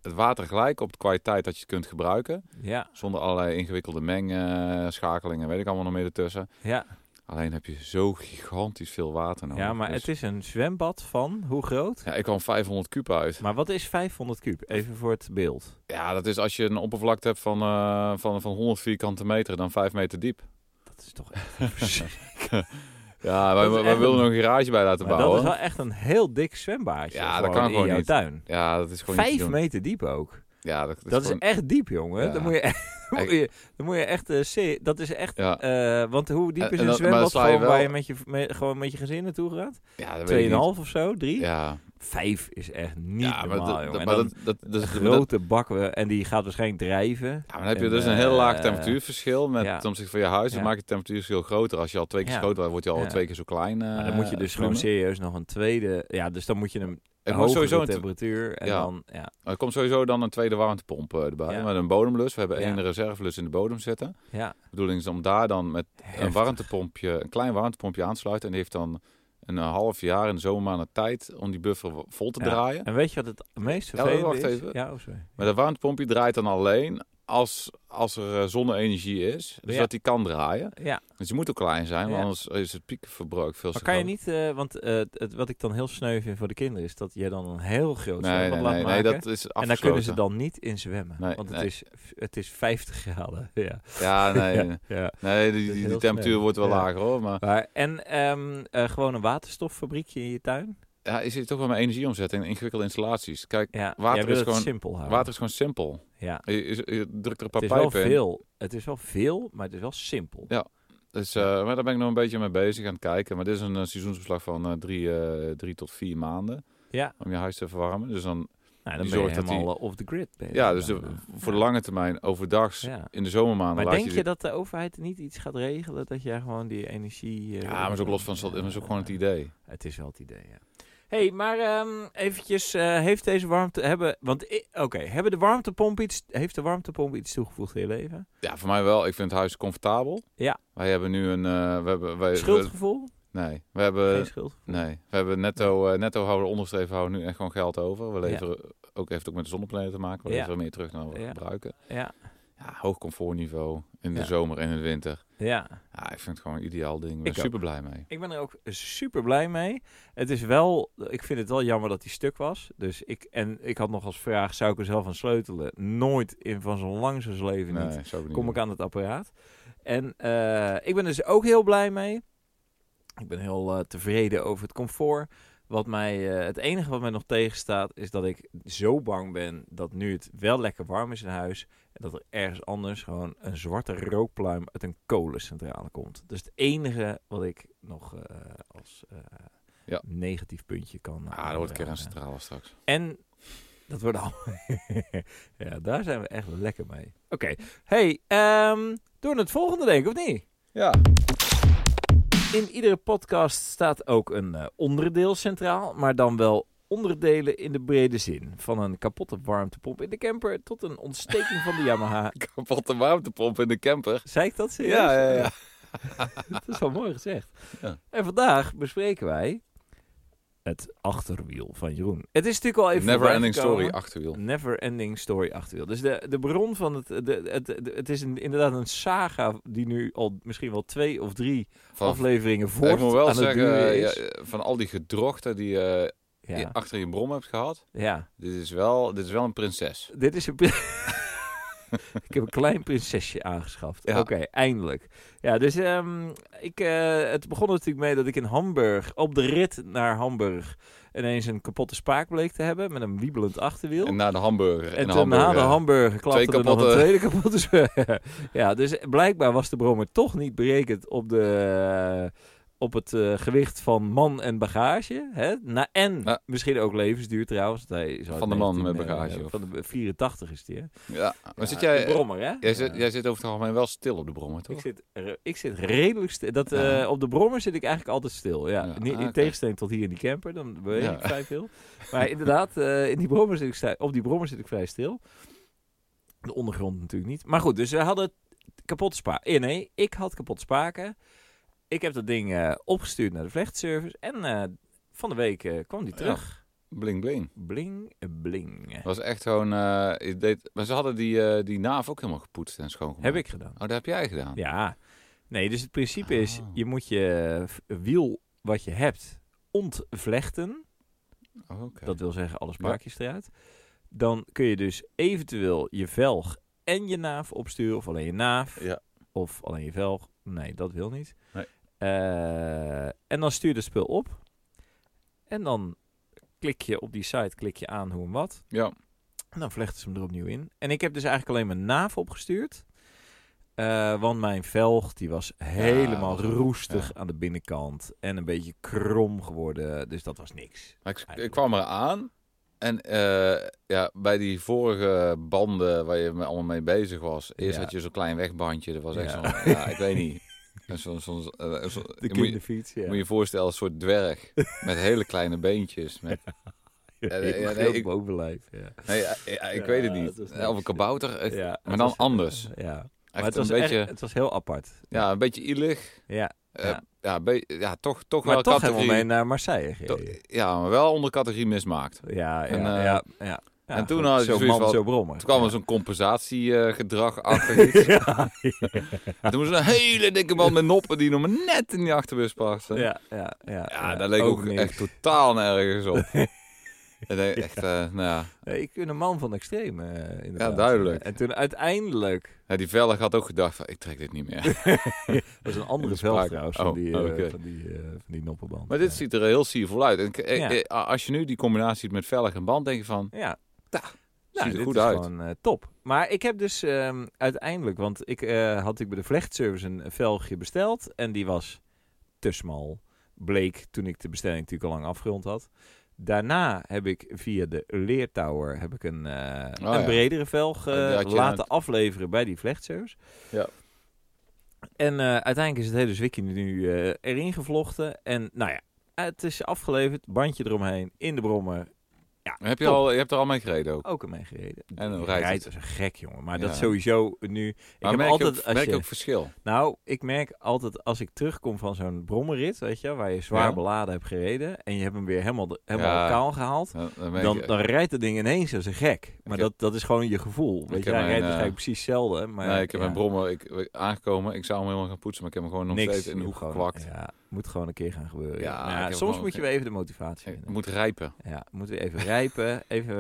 [SPEAKER 2] het water gelijk op de kwaliteit dat je het kunt gebruiken.
[SPEAKER 1] Ja,
[SPEAKER 2] Zonder allerlei ingewikkelde mengschakelingen, weet ik allemaal nog meer ertussen.
[SPEAKER 1] ja.
[SPEAKER 2] Alleen heb je zo gigantisch veel water nodig.
[SPEAKER 1] ja, maar
[SPEAKER 2] Dus-
[SPEAKER 1] het is een zwembad van, hoe groot?
[SPEAKER 2] ja, ik kwam 500 kuub uit.
[SPEAKER 1] Maar wat is 500 kuub? Even voor het beeld.
[SPEAKER 2] Ja, dat is als je een oppervlakte hebt van, eh, van, van 100 vierkante meter, dan 5 meter diep.
[SPEAKER 1] Dat is toch echt een verschil. Dat
[SPEAKER 2] Ja, wij,
[SPEAKER 1] is
[SPEAKER 2] wij
[SPEAKER 1] echt
[SPEAKER 2] wilden
[SPEAKER 1] een-
[SPEAKER 2] nog een garage bij laten
[SPEAKER 1] Maar dat
[SPEAKER 2] bouwen.
[SPEAKER 1] is wel echt een heel dik zwembadje.
[SPEAKER 2] Ja, dat
[SPEAKER 1] gewoon
[SPEAKER 2] kan
[SPEAKER 1] in
[SPEAKER 2] gewoon
[SPEAKER 1] jouw
[SPEAKER 2] niet.
[SPEAKER 1] tuin.
[SPEAKER 2] Ja, dat is gewoon niet te
[SPEAKER 1] Vijf
[SPEAKER 2] doen.
[SPEAKER 1] meter diep ook.
[SPEAKER 2] Ja, dat, dat
[SPEAKER 1] Dat
[SPEAKER 2] is
[SPEAKER 1] is
[SPEAKER 2] gewoon-
[SPEAKER 1] echt diep, jongen.
[SPEAKER 2] Ja.
[SPEAKER 1] Dan, moet je, echt- dan moet je, dan moet je echt... eh, se- dat is echt...
[SPEAKER 2] Ja,
[SPEAKER 1] eh, want hoe diep
[SPEAKER 2] En-
[SPEAKER 1] is
[SPEAKER 2] en
[SPEAKER 1] een
[SPEAKER 2] dan- maar dan
[SPEAKER 1] zwembad
[SPEAKER 2] sla je
[SPEAKER 1] gewoon
[SPEAKER 2] wel-
[SPEAKER 1] waar je met je, me- gewoon met je gezin naartoe gaat?
[SPEAKER 2] ja dat weet ik niet.
[SPEAKER 1] 2,5 of zo? 3?
[SPEAKER 2] Ja,
[SPEAKER 1] 5 is echt niet
[SPEAKER 2] ja maar,
[SPEAKER 1] normaal,
[SPEAKER 2] dat-
[SPEAKER 1] jongen. En
[SPEAKER 2] maar
[SPEAKER 1] dan
[SPEAKER 2] dat, dat, dat,
[SPEAKER 1] een
[SPEAKER 2] dat-
[SPEAKER 1] grote bak eh, en die gaat waarschijnlijk drijven.
[SPEAKER 2] ja, maar dan heb je
[SPEAKER 1] en,
[SPEAKER 2] dus een heel laag
[SPEAKER 1] eh,
[SPEAKER 2] temperatuurverschil met,
[SPEAKER 1] ja.
[SPEAKER 2] ten opzichte van je huis. Dan
[SPEAKER 1] Ja.
[SPEAKER 2] maak je het temperatuurverschil groter. Als je al twee keer
[SPEAKER 1] Ja.
[SPEAKER 2] schoot wordt, word je al
[SPEAKER 1] Ja.
[SPEAKER 2] twee keer zo klein. eh,
[SPEAKER 1] Maar dan moet je dus gewoon
[SPEAKER 2] volume.
[SPEAKER 1] serieus nog een tweede... Ja, dus dan moet je hem
[SPEAKER 2] Er
[SPEAKER 1] een
[SPEAKER 2] komt
[SPEAKER 1] hogere
[SPEAKER 2] sowieso een, te-
[SPEAKER 1] temperatuur en
[SPEAKER 2] ja.
[SPEAKER 1] dan... Ja,
[SPEAKER 2] er komt sowieso dan een tweede warmtepomp eh, erbij.
[SPEAKER 1] Ja.
[SPEAKER 2] Met een bodemlus. We hebben
[SPEAKER 1] Ja.
[SPEAKER 2] één reservelus in de bodem zitten.
[SPEAKER 1] ja.
[SPEAKER 2] De bedoeling is om daar dan met een
[SPEAKER 1] Heftig.
[SPEAKER 2] warmtepompje, een klein warmtepompje aansluiten. En die heeft dan een eh, half jaar in de zomermaanden tijd om die buffer wa- vol te
[SPEAKER 1] Ja.
[SPEAKER 2] draaien.
[SPEAKER 1] En weet je wat het meest
[SPEAKER 2] Ja,
[SPEAKER 1] vervelende
[SPEAKER 2] wacht
[SPEAKER 1] is?
[SPEAKER 2] even.
[SPEAKER 1] Ja, oh, sorry.
[SPEAKER 2] Maar dat warmtepompje draait dan alleen als, als er eh, zonne-energie is. Dus
[SPEAKER 1] Ja.
[SPEAKER 2] dat die kan draaien.
[SPEAKER 1] Ja,
[SPEAKER 2] Dus die moet ook klein zijn, want
[SPEAKER 1] Ja.
[SPEAKER 2] anders is het piekverbruik veel te
[SPEAKER 1] maar kan je
[SPEAKER 2] groot.
[SPEAKER 1] niet, eh, want eh, het, wat ik dan heel sneu vind voor de kinderen is dat jij dan een heel groot
[SPEAKER 2] Nee,
[SPEAKER 1] zwembad
[SPEAKER 2] nee,
[SPEAKER 1] laat
[SPEAKER 2] nee, nee,
[SPEAKER 1] maken.
[SPEAKER 2] dat is afgesloten.
[SPEAKER 1] en daar kunnen ze dan niet in zwemmen,
[SPEAKER 2] Nee,
[SPEAKER 1] want het,
[SPEAKER 2] nee.
[SPEAKER 1] is, het is 50 graden. Ja.
[SPEAKER 2] Ja, nee, nee.
[SPEAKER 1] ja.
[SPEAKER 2] nee die,
[SPEAKER 1] Dat is
[SPEAKER 2] die,
[SPEAKER 1] heel
[SPEAKER 2] die temperatuur
[SPEAKER 1] snel.
[SPEAKER 2] wordt wel
[SPEAKER 1] Ja.
[SPEAKER 2] lager hoor. Maar
[SPEAKER 1] Maar, en ehm, eh, gewoon een waterstoffabriekje in je tuin?
[SPEAKER 2] ja, je zit toch wel met energie omzetten in ingewikkelde installaties. Kijk,
[SPEAKER 1] Ja,
[SPEAKER 2] Water
[SPEAKER 1] jij wil
[SPEAKER 2] is
[SPEAKER 1] het
[SPEAKER 2] gewoon-
[SPEAKER 1] simpel houden.
[SPEAKER 2] water is gewoon simpel.
[SPEAKER 1] ja.
[SPEAKER 2] Je, je- je drukt er
[SPEAKER 1] Het
[SPEAKER 2] een paar
[SPEAKER 1] is wel
[SPEAKER 2] pijpen in.
[SPEAKER 1] veel, het is wel veel, maar het is wel simpel.
[SPEAKER 2] Ja. Dus, eh, maar daar ben ik nog een beetje mee bezig aan het kijken. Maar dit is een eh, seizoensbeslag van eh, drie, eh, drie tot vier maanden
[SPEAKER 1] Ja.
[SPEAKER 2] om je huis te verwarmen. Dus dan
[SPEAKER 1] Nou, dan
[SPEAKER 2] Die
[SPEAKER 1] ben je
[SPEAKER 2] zorgt dat die-
[SPEAKER 1] helemaal eh, off the grid. ben je
[SPEAKER 2] Ja,
[SPEAKER 1] dan,
[SPEAKER 2] dus de-
[SPEAKER 1] eh.
[SPEAKER 2] voor de lange termijn, overdags,
[SPEAKER 1] Ja.
[SPEAKER 2] in de zomermaanden
[SPEAKER 1] Maar
[SPEAKER 2] laat
[SPEAKER 1] denk je,
[SPEAKER 2] je... die-
[SPEAKER 1] dat de overheid niet iets gaat regelen? Dat jij gewoon die energie... eh,
[SPEAKER 2] Ja, maar is ook los van, dat is ook gewoon het idee.
[SPEAKER 1] Het is wel het idee, ja. hey, maar ehm, eventjes, eh, heeft deze warmte... Hebben, want, i- oké, hebben de warmtepomp iets... Heeft de warmtepomp iets toegevoegd in je leven?
[SPEAKER 2] Ja, voor mij wel. Ik vind het huis comfortabel.
[SPEAKER 1] Ja.
[SPEAKER 2] Wij hebben nu een... eh, we hebben, wij, we-
[SPEAKER 1] Schuldgevoel?
[SPEAKER 2] nee, we hebben,
[SPEAKER 1] Geen schuldgevoel?
[SPEAKER 2] nee, we hebben netto, eh netto houden, onderstreven houden nu echt gewoon geld over. We leveren, ook heeft ook met de zonnepanelen te maken, we
[SPEAKER 1] Ja.
[SPEAKER 2] leveren meer terug dan we
[SPEAKER 1] Ja.
[SPEAKER 2] gebruiken.
[SPEAKER 1] Ja,
[SPEAKER 2] Ja, hoog comfortniveau in de
[SPEAKER 1] Ja.
[SPEAKER 2] zomer en in de winter.
[SPEAKER 1] ja.
[SPEAKER 2] Ja, ik vind het gewoon een ideaal ding. Ik ben
[SPEAKER 1] Ik ook.
[SPEAKER 2] super blij mee.
[SPEAKER 1] Ik ben er ook super blij mee. Het is wel, ik vind het wel jammer dat hij stuk was. Dus ik, en ik had nog als vraag, zou ik er zelf aan sleutelen? Nooit in van zo'n lang zijn leven
[SPEAKER 2] Nee,
[SPEAKER 1] niet.
[SPEAKER 2] zou ik niet
[SPEAKER 1] Kom
[SPEAKER 2] doen.
[SPEAKER 1] ik aan het apparaat. En eh, ik ben dus ook heel blij mee. Ik ben heel eh, tevreden over het comfort. Wat mij, eh, het enige wat mij nog tegenstaat, is dat ik zo bang ben dat nu het wel lekker warm is in huis. En dat er ergens anders gewoon een zwarte rookpluim uit een kolencentrale komt. Dat is het enige wat ik nog eh, als eh,
[SPEAKER 2] Ja.
[SPEAKER 1] negatief puntje kan. eh,
[SPEAKER 2] Ah, dat wordt
[SPEAKER 1] aandragen.
[SPEAKER 2] kerncentrale straks.
[SPEAKER 1] En dat wordt al. ja, daar zijn we echt lekker mee. Oké. Hey, ehm door naar het volgende, denk ik, of niet?
[SPEAKER 2] Ja.
[SPEAKER 1] In iedere podcast staat ook een eh, onderdeel centraal, maar dan wel onderdelen in de brede zin. Van een kapotte warmtepomp in de camper tot een ontsteking van de Yamaha.
[SPEAKER 2] Kapotte warmtepomp in de camper.
[SPEAKER 1] Zei ik dat serieus?
[SPEAKER 2] Ja, ja, ja.
[SPEAKER 1] Dat is wel mooi gezegd.
[SPEAKER 2] Ja.
[SPEAKER 1] En vandaag bespreken wij het achterwiel van Jeroen. Het is natuurlijk al even
[SPEAKER 2] Never
[SPEAKER 1] voorbij
[SPEAKER 2] ending
[SPEAKER 1] gekomen.
[SPEAKER 2] story, achterwiel.
[SPEAKER 1] Never ending story achterwiel. Dus de, de bron van het. De, het, de- het is een, inderdaad een saga die nu al misschien wel twee of drie
[SPEAKER 2] Van,
[SPEAKER 1] afleveringen voor.
[SPEAKER 2] ik moet wel
[SPEAKER 1] aan het
[SPEAKER 2] zeggen, eh,
[SPEAKER 1] duren is.
[SPEAKER 2] ja, van al die gedrochten die eh,
[SPEAKER 1] Ja,
[SPEAKER 2] je
[SPEAKER 1] ja.
[SPEAKER 2] achter je brom hebt gehad, dit is wel, dit is wel een prinses.
[SPEAKER 1] Dit is een. pri- ik heb een klein prinsesje aangeschaft.
[SPEAKER 2] Ja.
[SPEAKER 1] Oké, eindelijk. Ja, dus ehm, ik, eh, het begon natuurlijk mee dat ik in Hamburg, op de rit naar Hamburg, ineens een kapotte spaak bleek te hebben met een wiebelend achterwiel.
[SPEAKER 2] En naar de hamburger.
[SPEAKER 1] En
[SPEAKER 2] de
[SPEAKER 1] toen na de
[SPEAKER 2] hamburger. eh,
[SPEAKER 1] hamburger klapte
[SPEAKER 2] Twee
[SPEAKER 1] er nog een
[SPEAKER 2] kapotte-
[SPEAKER 1] tweede kapotte spe- ja, dus blijkbaar was de brommer toch niet berekend op, de, op het eh, gewicht van man en bagage. Hè? Na, en
[SPEAKER 2] Ja.
[SPEAKER 1] misschien ook levensduur trouwens. want hij is uit
[SPEAKER 2] Van de man met
[SPEAKER 1] 19, eh,
[SPEAKER 2] bagage, of-
[SPEAKER 1] Van de 84 is die, hè?
[SPEAKER 2] Ja, maar
[SPEAKER 1] Ja,
[SPEAKER 2] zit
[SPEAKER 1] De
[SPEAKER 2] jij,
[SPEAKER 1] brommer, hè?
[SPEAKER 2] jij,
[SPEAKER 1] Ja.
[SPEAKER 2] zit, jij zit over het algemeen wel stil op de brommen, toch?
[SPEAKER 1] Ik zit, re- ik zit redelijk stil. Dat,
[SPEAKER 2] Ja.
[SPEAKER 1] eh, op de brommer zit ik eigenlijk altijd stil. Ja.
[SPEAKER 2] Ja,
[SPEAKER 1] Niet-
[SPEAKER 2] ah,
[SPEAKER 1] in
[SPEAKER 2] oké.
[SPEAKER 1] tegenstelling tot hier in die camper, dan weet
[SPEAKER 2] Ja.
[SPEAKER 1] ik vrij veel. Maar inderdaad, eh, in die brommer zit ik sta- op die brommer zit ik vrij stil. De ondergrond natuurlijk niet. Maar goed, dus we hadden kapot spaken. Eh, nee, ik had kapot spaken. Ik heb dat ding eh, opgestuurd naar de vlechtservice. En eh, van de week eh, kwam die
[SPEAKER 2] Ja. Oh,
[SPEAKER 1] terug.
[SPEAKER 2] Bling, bling.
[SPEAKER 1] Bling, eh, bling.
[SPEAKER 2] Het was echt gewoon... eh, je deed, maar ze hadden die, eh, die naaf ook helemaal gepoetst en schoongemaakt.
[SPEAKER 1] Heb ik gedaan.
[SPEAKER 2] Oh, dat heb jij gedaan?
[SPEAKER 1] Ja. Nee, dus het principe is,
[SPEAKER 2] Ah.
[SPEAKER 1] je moet je v- wiel wat je hebt ontvlechten.
[SPEAKER 2] Oh, oké.
[SPEAKER 1] Dat wil zeggen, alle spaakjes eruit. Dan kun je dus eventueel je velg en je naaf opsturen. Of alleen je naaf.
[SPEAKER 2] Ja.
[SPEAKER 1] Of alleen je velg. Nee, dat wil niet.
[SPEAKER 2] Nee.
[SPEAKER 1] Eh, en dan stuur je het spul op. En dan klik je op die site, klik je aan hoe en wat.
[SPEAKER 2] Ja.
[SPEAKER 1] En dan vlechten ze hem er opnieuw in. En ik heb dus eigenlijk alleen mijn naaf opgestuurd. Eh, want mijn velg die was helemaal
[SPEAKER 2] dat was-
[SPEAKER 1] roestig aan de binnenkant. En een beetje krom geworden. Dus dat was niks.
[SPEAKER 2] Maar ik, ik
[SPEAKER 1] Eigenlijk.
[SPEAKER 2] kwam eraan en eh, ja, bij die vorige banden waar je me allemaal mee bezig was, eerst
[SPEAKER 1] Ja.
[SPEAKER 2] had je zo'n klein wegbandje, dat was
[SPEAKER 1] Ja.
[SPEAKER 2] echt zo'n, ja, ik weet niet. Zo'n, zo'n, eh, zo'n-
[SPEAKER 1] De
[SPEAKER 2] je moet, je,
[SPEAKER 1] kinderfiets, ja.
[SPEAKER 2] moet je voorstellen, een soort dwerg met hele kleine beentjes. Met, Ja, nee,
[SPEAKER 1] Heel
[SPEAKER 2] nee,
[SPEAKER 1] groot
[SPEAKER 2] ik-
[SPEAKER 1] bovenlijf. Ja.
[SPEAKER 2] nee, ja, ja, ik
[SPEAKER 1] Ja,
[SPEAKER 2] weet het
[SPEAKER 1] het was
[SPEAKER 2] niet.
[SPEAKER 1] niks.
[SPEAKER 2] Of een kabouter, eh, echt,
[SPEAKER 1] Ja, het
[SPEAKER 2] maar dan
[SPEAKER 1] was-
[SPEAKER 2] anders. Echt
[SPEAKER 1] Ja. Maar het
[SPEAKER 2] een
[SPEAKER 1] was,
[SPEAKER 2] beetje,
[SPEAKER 1] echt, het was heel apart.
[SPEAKER 2] ja, een beetje ielig.
[SPEAKER 1] Ja.
[SPEAKER 2] Eh,
[SPEAKER 1] Ja.
[SPEAKER 2] ja. be- ja, toch, toch
[SPEAKER 1] Maar
[SPEAKER 2] wel
[SPEAKER 1] toch hebben we
[SPEAKER 2] categorie.
[SPEAKER 1] mee naar Marseille
[SPEAKER 2] toch-
[SPEAKER 1] gereden.
[SPEAKER 2] ja, maar wel onder categorie mismaakt.
[SPEAKER 1] Ja, ja,
[SPEAKER 2] En,
[SPEAKER 1] ja,
[SPEAKER 2] eh,
[SPEAKER 1] ja, Ja,
[SPEAKER 2] en toen
[SPEAKER 1] goed,
[SPEAKER 2] had je
[SPEAKER 1] Zo
[SPEAKER 2] zoiets
[SPEAKER 1] man,
[SPEAKER 2] van-
[SPEAKER 1] zo brommer.
[SPEAKER 2] Toen kwam er
[SPEAKER 1] Ja.
[SPEAKER 2] zo'n compensatiegedrag achter iets.
[SPEAKER 1] Ja,
[SPEAKER 2] En toen was er een hele dikke man met noppen die nog maar net in die achterbus paste. Ja,
[SPEAKER 1] ja, ja. ja,
[SPEAKER 2] dat leek ook,
[SPEAKER 1] niks.
[SPEAKER 2] echt totaal nergens op. en ik echt, eh, nou ja.
[SPEAKER 1] Nee, ik ben een man van extreme, eh, inderdaad.
[SPEAKER 2] duidelijk.
[SPEAKER 1] En toen uiteindelijk...
[SPEAKER 2] ja, die velg had ook gedacht van, ik trek dit niet meer.
[SPEAKER 1] Dat is een andere
[SPEAKER 2] Die spraak-
[SPEAKER 1] veld trouwens van
[SPEAKER 2] Oh,
[SPEAKER 1] die, eh,
[SPEAKER 2] oké.
[SPEAKER 1] van die, eh, van die noppenband.
[SPEAKER 2] Maar dit
[SPEAKER 1] Ja.
[SPEAKER 2] ziet er heel siervol uit. En, eh,
[SPEAKER 1] Ja.
[SPEAKER 2] eh, als je nu die combinatie ziet met velg en band, denk je van,
[SPEAKER 1] Ja. Nou,
[SPEAKER 2] Ta, ziet er
[SPEAKER 1] dit
[SPEAKER 2] goed
[SPEAKER 1] is
[SPEAKER 2] uit.
[SPEAKER 1] gewoon eh, top. Maar ik heb dus ehm, uiteindelijk, want ik eh, had ik bij de vlechtservice een velgje besteld en die was te smal. Bleek toen ik de bestelling natuurlijk al lang afgerond had. Daarna heb ik via de Leertower heb ik een, eh, een
[SPEAKER 2] Oh ja.
[SPEAKER 1] bredere velg eh,
[SPEAKER 2] Ja, dat je
[SPEAKER 1] laten
[SPEAKER 2] het-
[SPEAKER 1] afleveren bij die vlechtzeus.
[SPEAKER 2] Ja.
[SPEAKER 1] En eh, uiteindelijk is het hele zwikje nu eh, erin gevlochten. En nou ja, het is afgeleverd. Bandje eromheen, in de brommer.
[SPEAKER 2] Heb je,
[SPEAKER 1] Top.
[SPEAKER 2] al, je hebt er al mee gereden ook.
[SPEAKER 1] Ook ermee gereden.
[SPEAKER 2] En dan
[SPEAKER 1] Die
[SPEAKER 2] rijdt
[SPEAKER 1] rijdt
[SPEAKER 2] het.
[SPEAKER 1] als een gek, jongen. Maar
[SPEAKER 2] Ja.
[SPEAKER 1] dat sowieso nu...
[SPEAKER 2] Maar
[SPEAKER 1] ik heb
[SPEAKER 2] merk,
[SPEAKER 1] altijd...
[SPEAKER 2] je ook,
[SPEAKER 1] als
[SPEAKER 2] merk je
[SPEAKER 1] je-
[SPEAKER 2] ook verschil?
[SPEAKER 1] nou, ik merk altijd als ik terugkom van zo'n brommerrit, weet je, waar je zwaar
[SPEAKER 2] Ja.
[SPEAKER 1] beladen hebt gereden en je hebt hem weer helemaal, de- helemaal
[SPEAKER 2] Ja.
[SPEAKER 1] kaal gehaald,
[SPEAKER 2] Dan, dan merk
[SPEAKER 1] dan,
[SPEAKER 2] je-
[SPEAKER 1] dan rijdt het ding ineens als een gek. Maar
[SPEAKER 2] Ik heb-
[SPEAKER 1] dat, dat is gewoon je gevoel. Weet je,
[SPEAKER 2] heb
[SPEAKER 1] hij
[SPEAKER 2] mijn,
[SPEAKER 1] rijdt
[SPEAKER 2] eh,
[SPEAKER 1] waarschijnlijk precies hetzelfde. Maar
[SPEAKER 2] nee, ik heb
[SPEAKER 1] ja,
[SPEAKER 2] mijn brommer ik, ik- aangekomen. Ik zou hem helemaal gaan poetsen, maar ik heb hem gewoon nog
[SPEAKER 1] niks.
[SPEAKER 2] steeds in
[SPEAKER 1] Je
[SPEAKER 2] de hoek
[SPEAKER 1] hebt gewoon-
[SPEAKER 2] geplakt.
[SPEAKER 1] Ja, moet gewoon een keer gaan gebeuren.
[SPEAKER 2] Ja,
[SPEAKER 1] Nou,
[SPEAKER 2] ik heb
[SPEAKER 1] soms
[SPEAKER 2] gewoon-
[SPEAKER 1] moet je weer even de motivatie
[SPEAKER 2] Ik
[SPEAKER 1] vinden.
[SPEAKER 2] moet rijpen.
[SPEAKER 1] Ja, moet weer even rijpen, even,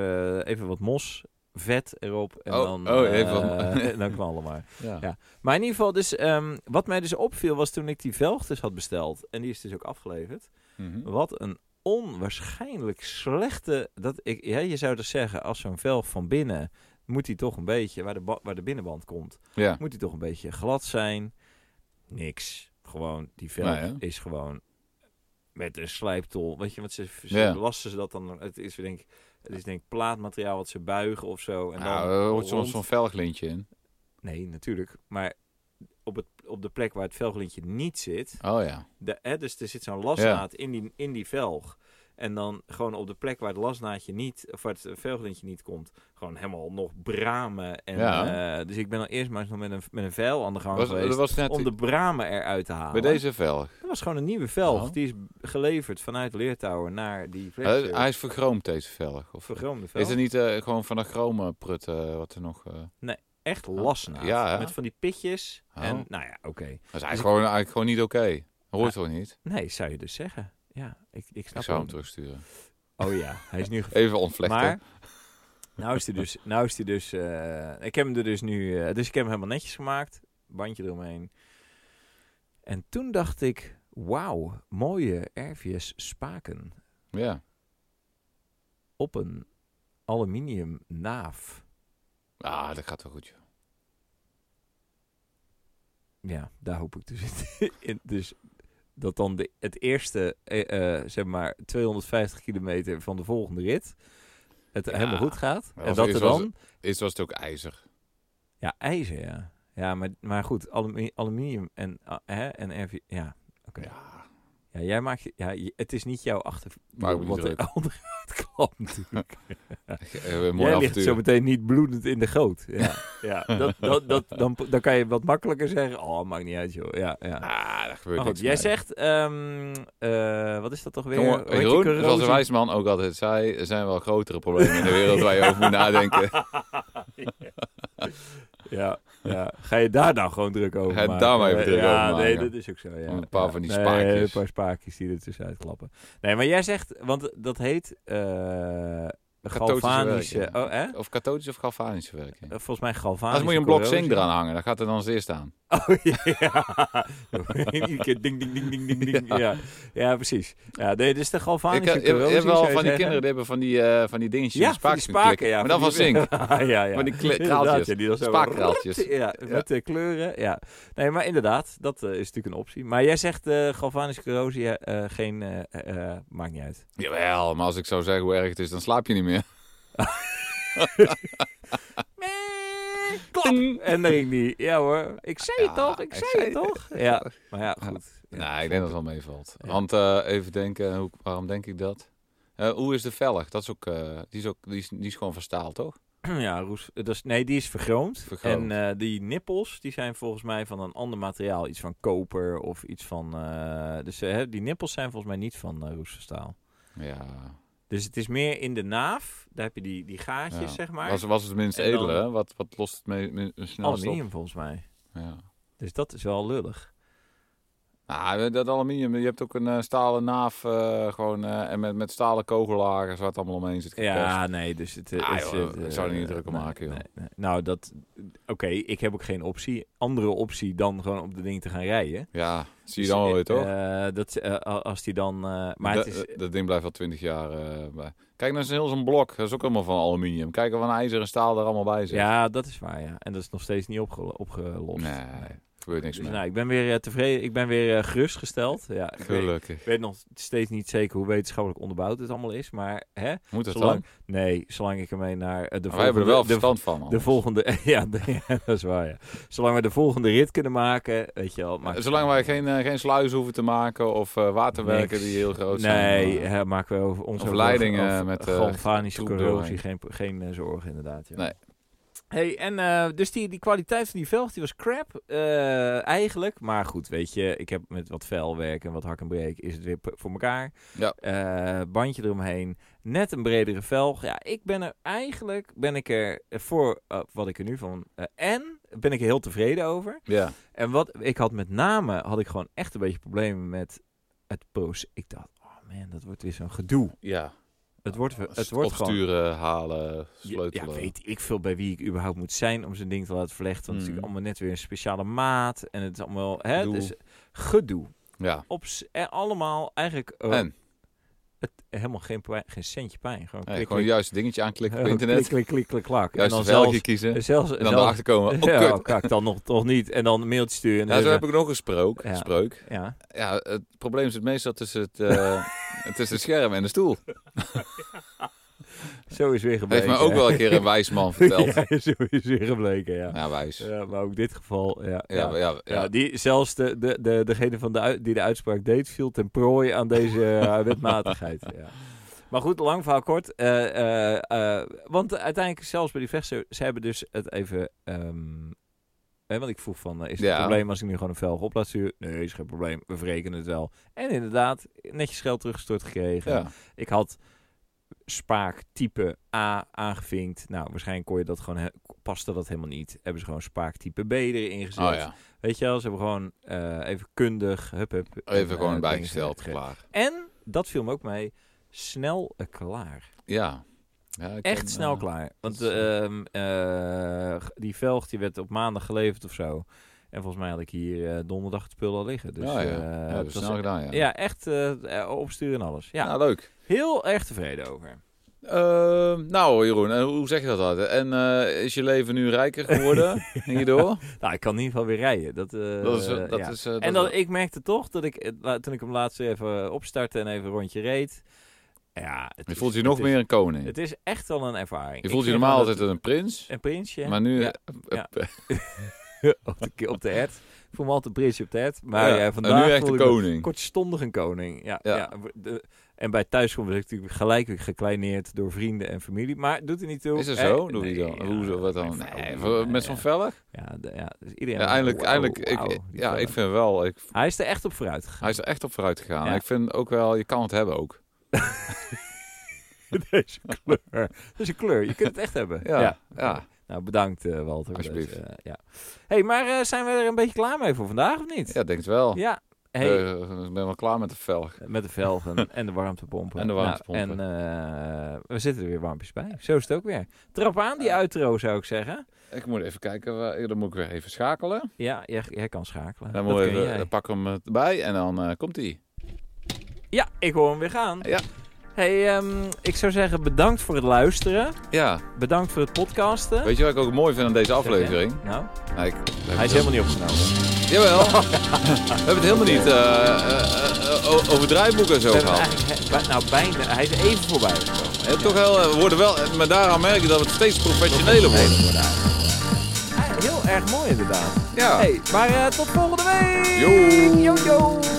[SPEAKER 1] eh, even wat mos, vet erop en
[SPEAKER 2] Oh,
[SPEAKER 1] dan,
[SPEAKER 2] oh,
[SPEAKER 1] eh,
[SPEAKER 2] even wat-
[SPEAKER 1] en dan knallen maar.
[SPEAKER 2] Ja.
[SPEAKER 1] Ja. Maar in ieder geval, dus, ehm, wat mij dus opviel was toen ik die velg dus had besteld. En die is dus ook afgeleverd.
[SPEAKER 2] Mhm.
[SPEAKER 1] Wat een onwaarschijnlijk slechte... Dat ik, ja, je zou dus zeggen, als zo'n velg van binnen moet die toch een beetje, waar de, ba- waar de binnenband komt,
[SPEAKER 2] ja.
[SPEAKER 1] moet die toch een beetje glad zijn. Niks. Gewoon, die velg
[SPEAKER 2] Nee, hè?
[SPEAKER 1] is gewoon met een slijptol. Weet je, want ze, ze
[SPEAKER 2] Ja.
[SPEAKER 1] belasten ze dat dan. Het is denk, ik- het is denk ik plaatmateriaal wat ze buigen of zo. En
[SPEAKER 2] Nou,
[SPEAKER 1] dan
[SPEAKER 2] er hoort soms
[SPEAKER 1] rond-
[SPEAKER 2] zo'n velglintje in.
[SPEAKER 1] Nee, natuurlijk. Maar op, het, op de plek waar het velglintje niet zit.
[SPEAKER 2] Oh ja.
[SPEAKER 1] De, hè, dus er zit zo'n lasnaad in, die, in die velg. En dan gewoon op de plek waar het lasnaadje niet, of waar het velglintje niet komt, gewoon helemaal nog bramen. En,
[SPEAKER 2] Ja.
[SPEAKER 1] eh, dus ik ben al eerst maar eens nog met een, met een veil aan de gang
[SPEAKER 2] Was,
[SPEAKER 1] geweest.
[SPEAKER 2] dat was net
[SPEAKER 1] om de bramen eruit te halen.
[SPEAKER 2] bij deze velg.
[SPEAKER 1] Dat was gewoon een nieuwe velg.
[SPEAKER 2] Oh.
[SPEAKER 1] Die is geleverd vanuit Leertower naar die
[SPEAKER 2] Hij,
[SPEAKER 1] vlees.
[SPEAKER 2] hij is vergroomd, deze velg. Of,
[SPEAKER 1] Vergroomde velg.
[SPEAKER 2] is het niet eh, gewoon van de chrome prut eh, wat er nog... eh,
[SPEAKER 1] Echt lasnaad.
[SPEAKER 2] Ja, hè?
[SPEAKER 1] Met van die pitjes.
[SPEAKER 2] Oh.
[SPEAKER 1] En nou ja, oké.
[SPEAKER 2] Dat is eigenlijk, gewoon, eigenlijk gewoon niet oké. Dat Hoort toch niet?
[SPEAKER 1] Nee, zou je dus zeggen. Ja, ik, ik snap
[SPEAKER 2] Ik zou hem
[SPEAKER 1] hem.
[SPEAKER 2] terugsturen.
[SPEAKER 1] Oh ja, hij is nu gevonden.
[SPEAKER 2] Even ontvlechten.
[SPEAKER 1] Maar nou is hij dus, nou is hij dus eh, ik heb hem er dus nu, eh, dus ik heb hem helemaal netjes gemaakt, bandje eromheen. En toen dacht ik, wauw, mooie RVS spaken
[SPEAKER 2] Ja.
[SPEAKER 1] op een aluminium naaf.
[SPEAKER 2] Ah, dat gaat wel goed, joh.
[SPEAKER 1] Ja, daar hoop ik dus in. in- dus dat dan de, het eerste, eh, eh, zeg maar, 250 kilometer van de volgende rit het
[SPEAKER 2] Ja.
[SPEAKER 1] helemaal goed gaat.
[SPEAKER 2] Maar
[SPEAKER 1] en
[SPEAKER 2] als
[SPEAKER 1] dat
[SPEAKER 2] er
[SPEAKER 1] er
[SPEAKER 2] iets was-
[SPEAKER 1] dan
[SPEAKER 2] Eerst was het ook ijzer.
[SPEAKER 1] Ja, ijzer, ja. Ja, maar, maar goed, alumi- aluminium en, ah, hè, en RV... Ja. Oké.
[SPEAKER 2] Ja.
[SPEAKER 1] ja, jij maakt... je- Ja, je- het is niet jouw achter...
[SPEAKER 2] Maak me niet
[SPEAKER 1] wat er
[SPEAKER 2] druk.
[SPEAKER 1] onderuit kwam natuurlijk.
[SPEAKER 2] Eh, Een mooi
[SPEAKER 1] jij ligt zo
[SPEAKER 2] avontuur.
[SPEAKER 1] meteen niet bloedend in de goot. Ja, ja dat, dat, dat, dan, dan kan je wat makkelijker zeggen. Oh, maakt niet uit, joh. Ja, ja.
[SPEAKER 2] Ah, dat gebeurt
[SPEAKER 1] Maar goed,
[SPEAKER 2] niks
[SPEAKER 1] jij
[SPEAKER 2] mee.
[SPEAKER 1] zegt... ehm, eh, wat is dat toch weer?
[SPEAKER 2] Jongen,
[SPEAKER 1] Hoe heet die
[SPEAKER 2] Jeroen,
[SPEAKER 1] corrosie?
[SPEAKER 2] zoals een wijs man ook altijd zei, er zijn wel grotere problemen in de wereld waar je over moet nadenken.
[SPEAKER 1] Ja, ja. Ga je daar nou gewoon druk over
[SPEAKER 2] Ga je
[SPEAKER 1] maken?
[SPEAKER 2] daar maar even
[SPEAKER 1] Eh,
[SPEAKER 2] druk
[SPEAKER 1] ja,
[SPEAKER 2] over maken.
[SPEAKER 1] nee, dat is ook zo, ja.
[SPEAKER 2] Een paar
[SPEAKER 1] Ja.
[SPEAKER 2] van die
[SPEAKER 1] Nee,
[SPEAKER 2] spaakjes.
[SPEAKER 1] een paar spaakjes die er tussenuit klappen. Nee, maar jij zegt, want dat heet eh galvanische...
[SPEAKER 2] werk, ja.
[SPEAKER 1] Oh, hè?
[SPEAKER 2] Of katholische of galvanische werking.
[SPEAKER 1] Volgens mij galvanische
[SPEAKER 2] Als moet je een blok
[SPEAKER 1] corrosie.
[SPEAKER 2] zink eraan hangen, dan gaat het dan als eerste aan.
[SPEAKER 1] Oh, ja. Iedere keer ding, ding, ding, ding, ding, ding. Ja, ja. precies. Ja, nee, dit is de
[SPEAKER 2] Ik
[SPEAKER 1] galvanische
[SPEAKER 2] heb, je
[SPEAKER 1] corrosie,
[SPEAKER 2] hebt wel
[SPEAKER 1] zou
[SPEAKER 2] van
[SPEAKER 1] je
[SPEAKER 2] die
[SPEAKER 1] zeggen.
[SPEAKER 2] kinderen die hebben van die, eh van die dingetjes,
[SPEAKER 1] Ja,
[SPEAKER 2] die
[SPEAKER 1] van die
[SPEAKER 2] spaakjes kunnen
[SPEAKER 1] spaken,
[SPEAKER 2] klikken.
[SPEAKER 1] ja.
[SPEAKER 2] maar dan van zink.
[SPEAKER 1] ja, ja.
[SPEAKER 2] Van die kle-
[SPEAKER 1] Inderdaad,
[SPEAKER 2] kraaltjes.
[SPEAKER 1] ja, die dan zo-
[SPEAKER 2] Spaakkraaltjes.
[SPEAKER 1] Ja, met de kleuren, ja. Nee, maar inderdaad, dat eh, is natuurlijk een optie. Maar jij zegt eh galvanische corrosie, eh, eh, geen, eh, eh, maakt niet uit.
[SPEAKER 2] Jawel, maar als ik zou zeggen hoe erg het is, dan slaap je niet meer.
[SPEAKER 1] Klap! En dan ging die, ja hoor, ik zei het
[SPEAKER 2] Ja,
[SPEAKER 1] toch, ik
[SPEAKER 2] ik
[SPEAKER 1] zei
[SPEAKER 2] zei
[SPEAKER 1] het toch. Ja, maar ja, goed. Ja.
[SPEAKER 2] nee, ik denk dat het wel meevalt.
[SPEAKER 1] Ja.
[SPEAKER 2] Want eh, even denken, hoe, waarom denk ik dat? Eh, hoe is de velg? Dat is ook, eh, die, is ook die, is, die is gewoon van staal, toch?
[SPEAKER 1] Ja, roes, eh, dat is, nee, die is vergroomd.
[SPEAKER 2] Vergroomd.
[SPEAKER 1] En eh, die nippels, die zijn volgens mij van een ander materiaal. Iets van koper of iets van... eh, dus eh, die nippels zijn volgens mij niet van eh roestverstaal.
[SPEAKER 2] Ja.
[SPEAKER 1] Dus het is meer in de naaf. Daar heb je die, die gaatjes,
[SPEAKER 2] Ja.
[SPEAKER 1] zeg maar.
[SPEAKER 2] Was, was het minst
[SPEAKER 1] En dan-
[SPEAKER 2] edele, hè? Wat, wat lost het me, me, snelst op?
[SPEAKER 1] Aluminium, volgens mij.
[SPEAKER 2] Ja.
[SPEAKER 1] Dus dat is wel lullig.
[SPEAKER 2] Nou, dat aluminium, je hebt ook een eh, stalen naaf, eh, gewoon, eh, en met, met stalen kogellagers, wat allemaal omheen zit geperst.
[SPEAKER 1] Ja, nee, dus het... eh,
[SPEAKER 2] Ah,
[SPEAKER 1] is,
[SPEAKER 2] joh,
[SPEAKER 1] het,
[SPEAKER 2] ik
[SPEAKER 1] eh,
[SPEAKER 2] zou er niet druk om
[SPEAKER 1] nee,
[SPEAKER 2] maken, joh.
[SPEAKER 1] nee, nee. Nou, dat... Oké, ik heb ook geen optie. Andere optie dan gewoon op de ding te gaan rijden.
[SPEAKER 2] Ja, zie
[SPEAKER 1] Dus,
[SPEAKER 2] je dan wel weer,
[SPEAKER 1] eh,
[SPEAKER 2] toch?
[SPEAKER 1] eh, dat, eh, a- als die dan... eh, maar
[SPEAKER 2] dat,
[SPEAKER 1] het is...
[SPEAKER 2] dat ding blijft al twintig jaar eh, bij. Kijk, nou is heel zo'n blok, dat is ook allemaal van aluminium. Kijk, van ijzer en staal er allemaal bij zit.
[SPEAKER 1] Ja, dat is waar, ja. En dat is nog steeds niet opgelo- opgelost.
[SPEAKER 2] Nee. gebeurt niks
[SPEAKER 1] Dus
[SPEAKER 2] meer.
[SPEAKER 1] nou, ik ben weer eh, tevreden. Ik ben weer eh, gerustgesteld. Ja, ik weet,
[SPEAKER 2] Gelukkig.
[SPEAKER 1] ik weet nog steeds niet zeker hoe wetenschappelijk onderbouwd het allemaal is. Maar hè,
[SPEAKER 2] Moet dat
[SPEAKER 1] zolang,
[SPEAKER 2] dan?
[SPEAKER 1] nee, zolang ik ermee naar eh, de
[SPEAKER 2] Maar wij hebben er wel
[SPEAKER 1] de,
[SPEAKER 2] verstand van, dus. man.
[SPEAKER 1] de volgende. Ja, de- ja, dat is waar. Ja. Zolang we de volgende rit kunnen maken, weet je wel. maakt-
[SPEAKER 2] Zolang wij geen, eh, geen sluizen hoeven te maken of eh, waterwerken
[SPEAKER 1] Niks.
[SPEAKER 2] die heel groot zijn.
[SPEAKER 1] Nee,
[SPEAKER 2] eh,
[SPEAKER 1] hè, maken we over onze
[SPEAKER 2] Of leidingen met, eh,
[SPEAKER 1] galvanische
[SPEAKER 2] troep
[SPEAKER 1] corrosie geen,
[SPEAKER 2] doorheen.
[SPEAKER 1] geen eh, zorgen, inderdaad. Ja.
[SPEAKER 2] Nee.
[SPEAKER 1] Hey, en eh, dus die, die kwaliteit van die velg die was crap eh, eigenlijk. Maar goed, weet je, ik heb met wat velwerk en wat hak en breek is het weer p- voor elkaar.
[SPEAKER 2] Ja.
[SPEAKER 1] Eh, bandje eromheen, net een bredere velg. Ja, ik ben er eigenlijk, ben ik er voor eh, wat ik er nu van... eh, en ben ik er heel tevreden over.
[SPEAKER 2] Ja,
[SPEAKER 1] En wat ik had met name, had ik gewoon echt een beetje problemen met het proces. Ik dacht, oh man, dat wordt weer zo'n gedoe.
[SPEAKER 2] ja.
[SPEAKER 1] Het wordt, het wordt gewoon...
[SPEAKER 2] Opsturen, halen,
[SPEAKER 1] Ja,
[SPEAKER 2] sleutelen.
[SPEAKER 1] weet ik veel bij wie ik überhaupt moet zijn om zo'n ding te laten verleggen. Want het is
[SPEAKER 2] Mm.
[SPEAKER 1] natuurlijk allemaal net weer een speciale maat. En het is allemaal... Hè,
[SPEAKER 2] Doe.
[SPEAKER 1] dus gedoe.
[SPEAKER 2] ja.
[SPEAKER 1] Op, s- en allemaal eigenlijk... eh,
[SPEAKER 2] En
[SPEAKER 1] Het, helemaal geen, pijn- geen centje pijn. Gewoon
[SPEAKER 2] nee,
[SPEAKER 1] klik,
[SPEAKER 2] gewoon
[SPEAKER 1] klik,
[SPEAKER 2] juist dingetje aanklikken op
[SPEAKER 1] eh,
[SPEAKER 2] internet.
[SPEAKER 1] Klik, klik, klik, klik, klak. En
[SPEAKER 2] Juist
[SPEAKER 1] dan
[SPEAKER 2] een velgje
[SPEAKER 1] zelfs...
[SPEAKER 2] kiezen. En
[SPEAKER 1] zelfs
[SPEAKER 2] dan erachter komen, oh
[SPEAKER 1] ja,
[SPEAKER 2] kut.
[SPEAKER 1] kak, dan nog, toch niet. En dan een mailtje sturen. en
[SPEAKER 2] Ja, zo
[SPEAKER 1] even-
[SPEAKER 2] heb ik nog een sprook.
[SPEAKER 1] Ja.
[SPEAKER 2] spreuk.
[SPEAKER 1] ja.
[SPEAKER 2] Ja, het probleem zit meestal tussen het, eh, tussen het scherm en de stoel.
[SPEAKER 1] Zo is weer gebleken.
[SPEAKER 2] Heeft me ook wel een keer een wijs man verteld.
[SPEAKER 1] Ja, zo is weer gebleken, ja.
[SPEAKER 2] Ja, wijs. Ja,
[SPEAKER 1] Ja, maar ook dit geval, ja. ja.
[SPEAKER 2] ja, ja,
[SPEAKER 1] Ja, die, zelfs de, de, de, degene van de, ui- die de uitspraak deed, viel ten prooi aan deze eh, wetmatigheid. Ja. Maar goed, lang verhaal kort. Eh, eh, eh, want uiteindelijk, zelfs bij die vechter, ze hebben dus het even... ehm, hè, want ik vroeg van, eh, is het
[SPEAKER 2] Ja.
[SPEAKER 1] een probleem als ik nu gewoon een velg op laat sturen? Nee, is geen probleem. We verrekenen het wel. En inderdaad, netjes geld teruggestort gekregen.
[SPEAKER 2] Ja.
[SPEAKER 1] Ik had spaak type A aangevinkt. Nou, waarschijnlijk kon je dat gewoon he- paste dat helemaal niet. Hebben ze gewoon spaak type B erin gezet.
[SPEAKER 2] Oh ja,
[SPEAKER 1] Weet je wel, ze hebben gewoon eh, even kundig, hup hup. en,
[SPEAKER 2] Oh, even
[SPEAKER 1] eh,
[SPEAKER 2] gewoon
[SPEAKER 1] dingen
[SPEAKER 2] bijgesteld,
[SPEAKER 1] gekregen.
[SPEAKER 2] klaar.
[SPEAKER 1] En, dat viel me ook mee, snel eh, klaar.
[SPEAKER 2] Ja. Ja, ik
[SPEAKER 1] Echt
[SPEAKER 2] ken,
[SPEAKER 1] snel
[SPEAKER 2] eh,
[SPEAKER 1] klaar. Want
[SPEAKER 2] dat is,
[SPEAKER 1] eh, ehm, eh, g- die velg die werd op maandag geleverd of zo. En volgens mij had ik hier eh, donderdag het spul al liggen. Dus,
[SPEAKER 2] Oh, ja, ja.
[SPEAKER 1] eh,
[SPEAKER 2] Ja,
[SPEAKER 1] het
[SPEAKER 2] dat is
[SPEAKER 1] was-
[SPEAKER 2] snel gedaan, ja.
[SPEAKER 1] ja, echt eh, eh, opsturen en alles. Ja,
[SPEAKER 2] Nou, leuk.
[SPEAKER 1] heel erg tevreden over.
[SPEAKER 2] Ehm, nou, Jeroen, en hoe zeg je dat altijd? En eh, is je leven nu rijker geworden hierdoor?
[SPEAKER 1] Nou, ik kan in ieder geval weer rijden. Dat, eh,
[SPEAKER 2] dat is, eh, dat
[SPEAKER 1] ja.
[SPEAKER 2] is, eh,
[SPEAKER 1] en dat, ik merkte toch dat ik, eh, la- toen ik hem laatst weer even opstartte en even een rondje reed. Ja, het
[SPEAKER 2] je
[SPEAKER 1] is-
[SPEAKER 2] voelt je
[SPEAKER 1] het
[SPEAKER 2] nog
[SPEAKER 1] is-
[SPEAKER 2] meer een koning.
[SPEAKER 1] Het is echt wel een ervaring.
[SPEAKER 2] je
[SPEAKER 1] Ik
[SPEAKER 2] voelt je
[SPEAKER 1] vind
[SPEAKER 2] normaal
[SPEAKER 1] wel
[SPEAKER 2] altijd een prins,
[SPEAKER 1] dat- een prinsje
[SPEAKER 2] maar nu...
[SPEAKER 1] Ja. Ja. op, de, ki- op de hert. Ik voel me altijd een prinsje op de hert. Maar
[SPEAKER 2] Ja,
[SPEAKER 1] eh,
[SPEAKER 2] en
[SPEAKER 1] vandaag
[SPEAKER 2] nu echt
[SPEAKER 1] voel
[SPEAKER 2] een
[SPEAKER 1] ik me
[SPEAKER 2] koning.
[SPEAKER 1] kortstondig een koning. Ja, ja.
[SPEAKER 2] Ja.
[SPEAKER 1] De- en bij thuiskomst werd ik natuurlijk gelijk weer gekleineerd door vrienden en familie. Maar doet er niet toe.
[SPEAKER 2] Is er
[SPEAKER 1] Hè?
[SPEAKER 2] zo? Doe je
[SPEAKER 1] Eh, Nee,
[SPEAKER 2] dan?
[SPEAKER 1] ja,
[SPEAKER 2] Hoezo, wat dan?
[SPEAKER 1] mijn
[SPEAKER 2] Nee,
[SPEAKER 1] vrouw,
[SPEAKER 2] met zo'n
[SPEAKER 1] ja.
[SPEAKER 2] velg?
[SPEAKER 1] Ja, de- ja, dus iedereen...
[SPEAKER 2] Ja, eindelijk,
[SPEAKER 1] wauw,
[SPEAKER 2] eindelijk
[SPEAKER 1] wauw,
[SPEAKER 2] ik,
[SPEAKER 1] die
[SPEAKER 2] ja,
[SPEAKER 1] vrouw.
[SPEAKER 2] ik vind wel, ik,
[SPEAKER 1] Hij is er echt op vooruit gegaan.
[SPEAKER 2] hij is er echt op vooruit gegaan.
[SPEAKER 1] Ja.
[SPEAKER 2] Ik vind ook wel, je kan het hebben ook.
[SPEAKER 1] Deze kleur. Deze kleur. Je kunt het echt hebben.
[SPEAKER 2] Ja, ja.
[SPEAKER 1] Nou, bedankt eh, Walter. voor
[SPEAKER 2] Alsjeblieft.
[SPEAKER 1] deze, eh, ja. hey, maar eh, zijn we er een beetje klaar mee voor vandaag of niet?
[SPEAKER 2] Ja, denk het wel.
[SPEAKER 1] Ja. Hey,
[SPEAKER 2] Eh, ik ben wel klaar met de velg.
[SPEAKER 1] Met de velgen en de warmtepompen.
[SPEAKER 2] En de
[SPEAKER 1] Nou,
[SPEAKER 2] warmtepompen.
[SPEAKER 1] en eh, we zitten er weer warmpjes bij. Zo is het ook weer. Trap aan die outro, zou ik zeggen.
[SPEAKER 2] Ik moet even kijken, waar- dan moet ik weer even schakelen.
[SPEAKER 1] Ja, jij, jij kan schakelen.
[SPEAKER 2] Dan
[SPEAKER 1] Dat
[SPEAKER 2] moet
[SPEAKER 1] kun
[SPEAKER 2] even,
[SPEAKER 1] jij.
[SPEAKER 2] dan pak ik hem erbij en dan eh, komt hij.
[SPEAKER 1] Ja, ik hoor hem weer gaan.
[SPEAKER 2] Ja.
[SPEAKER 1] Hey, ehm, ik zou zeggen bedankt voor het luisteren.
[SPEAKER 2] Ja,
[SPEAKER 1] Bedankt voor het podcasten.
[SPEAKER 2] weet je wat ik ook mooi vind aan deze aflevering?
[SPEAKER 1] Nou,
[SPEAKER 2] Nou, ik-
[SPEAKER 1] hij is helemaal niet opgenomen.
[SPEAKER 2] Jawel. we hebben het helemaal niet eh eh, eh, o- over draaiboeken en zo
[SPEAKER 1] We hebben
[SPEAKER 2] gehad.
[SPEAKER 1] eigenlijk, he- bij- nou, bijna. Hij is even voorbij gekomen.
[SPEAKER 2] Het toch wel, eh, we worden wel, eh, maar daaraan merk je dat we het steeds professioneler worden.
[SPEAKER 1] Ah, Heel erg mooi inderdaad.
[SPEAKER 2] Ja.
[SPEAKER 1] Hey, maar eh, tot volgende week.
[SPEAKER 2] Yo.
[SPEAKER 1] Yo, yo.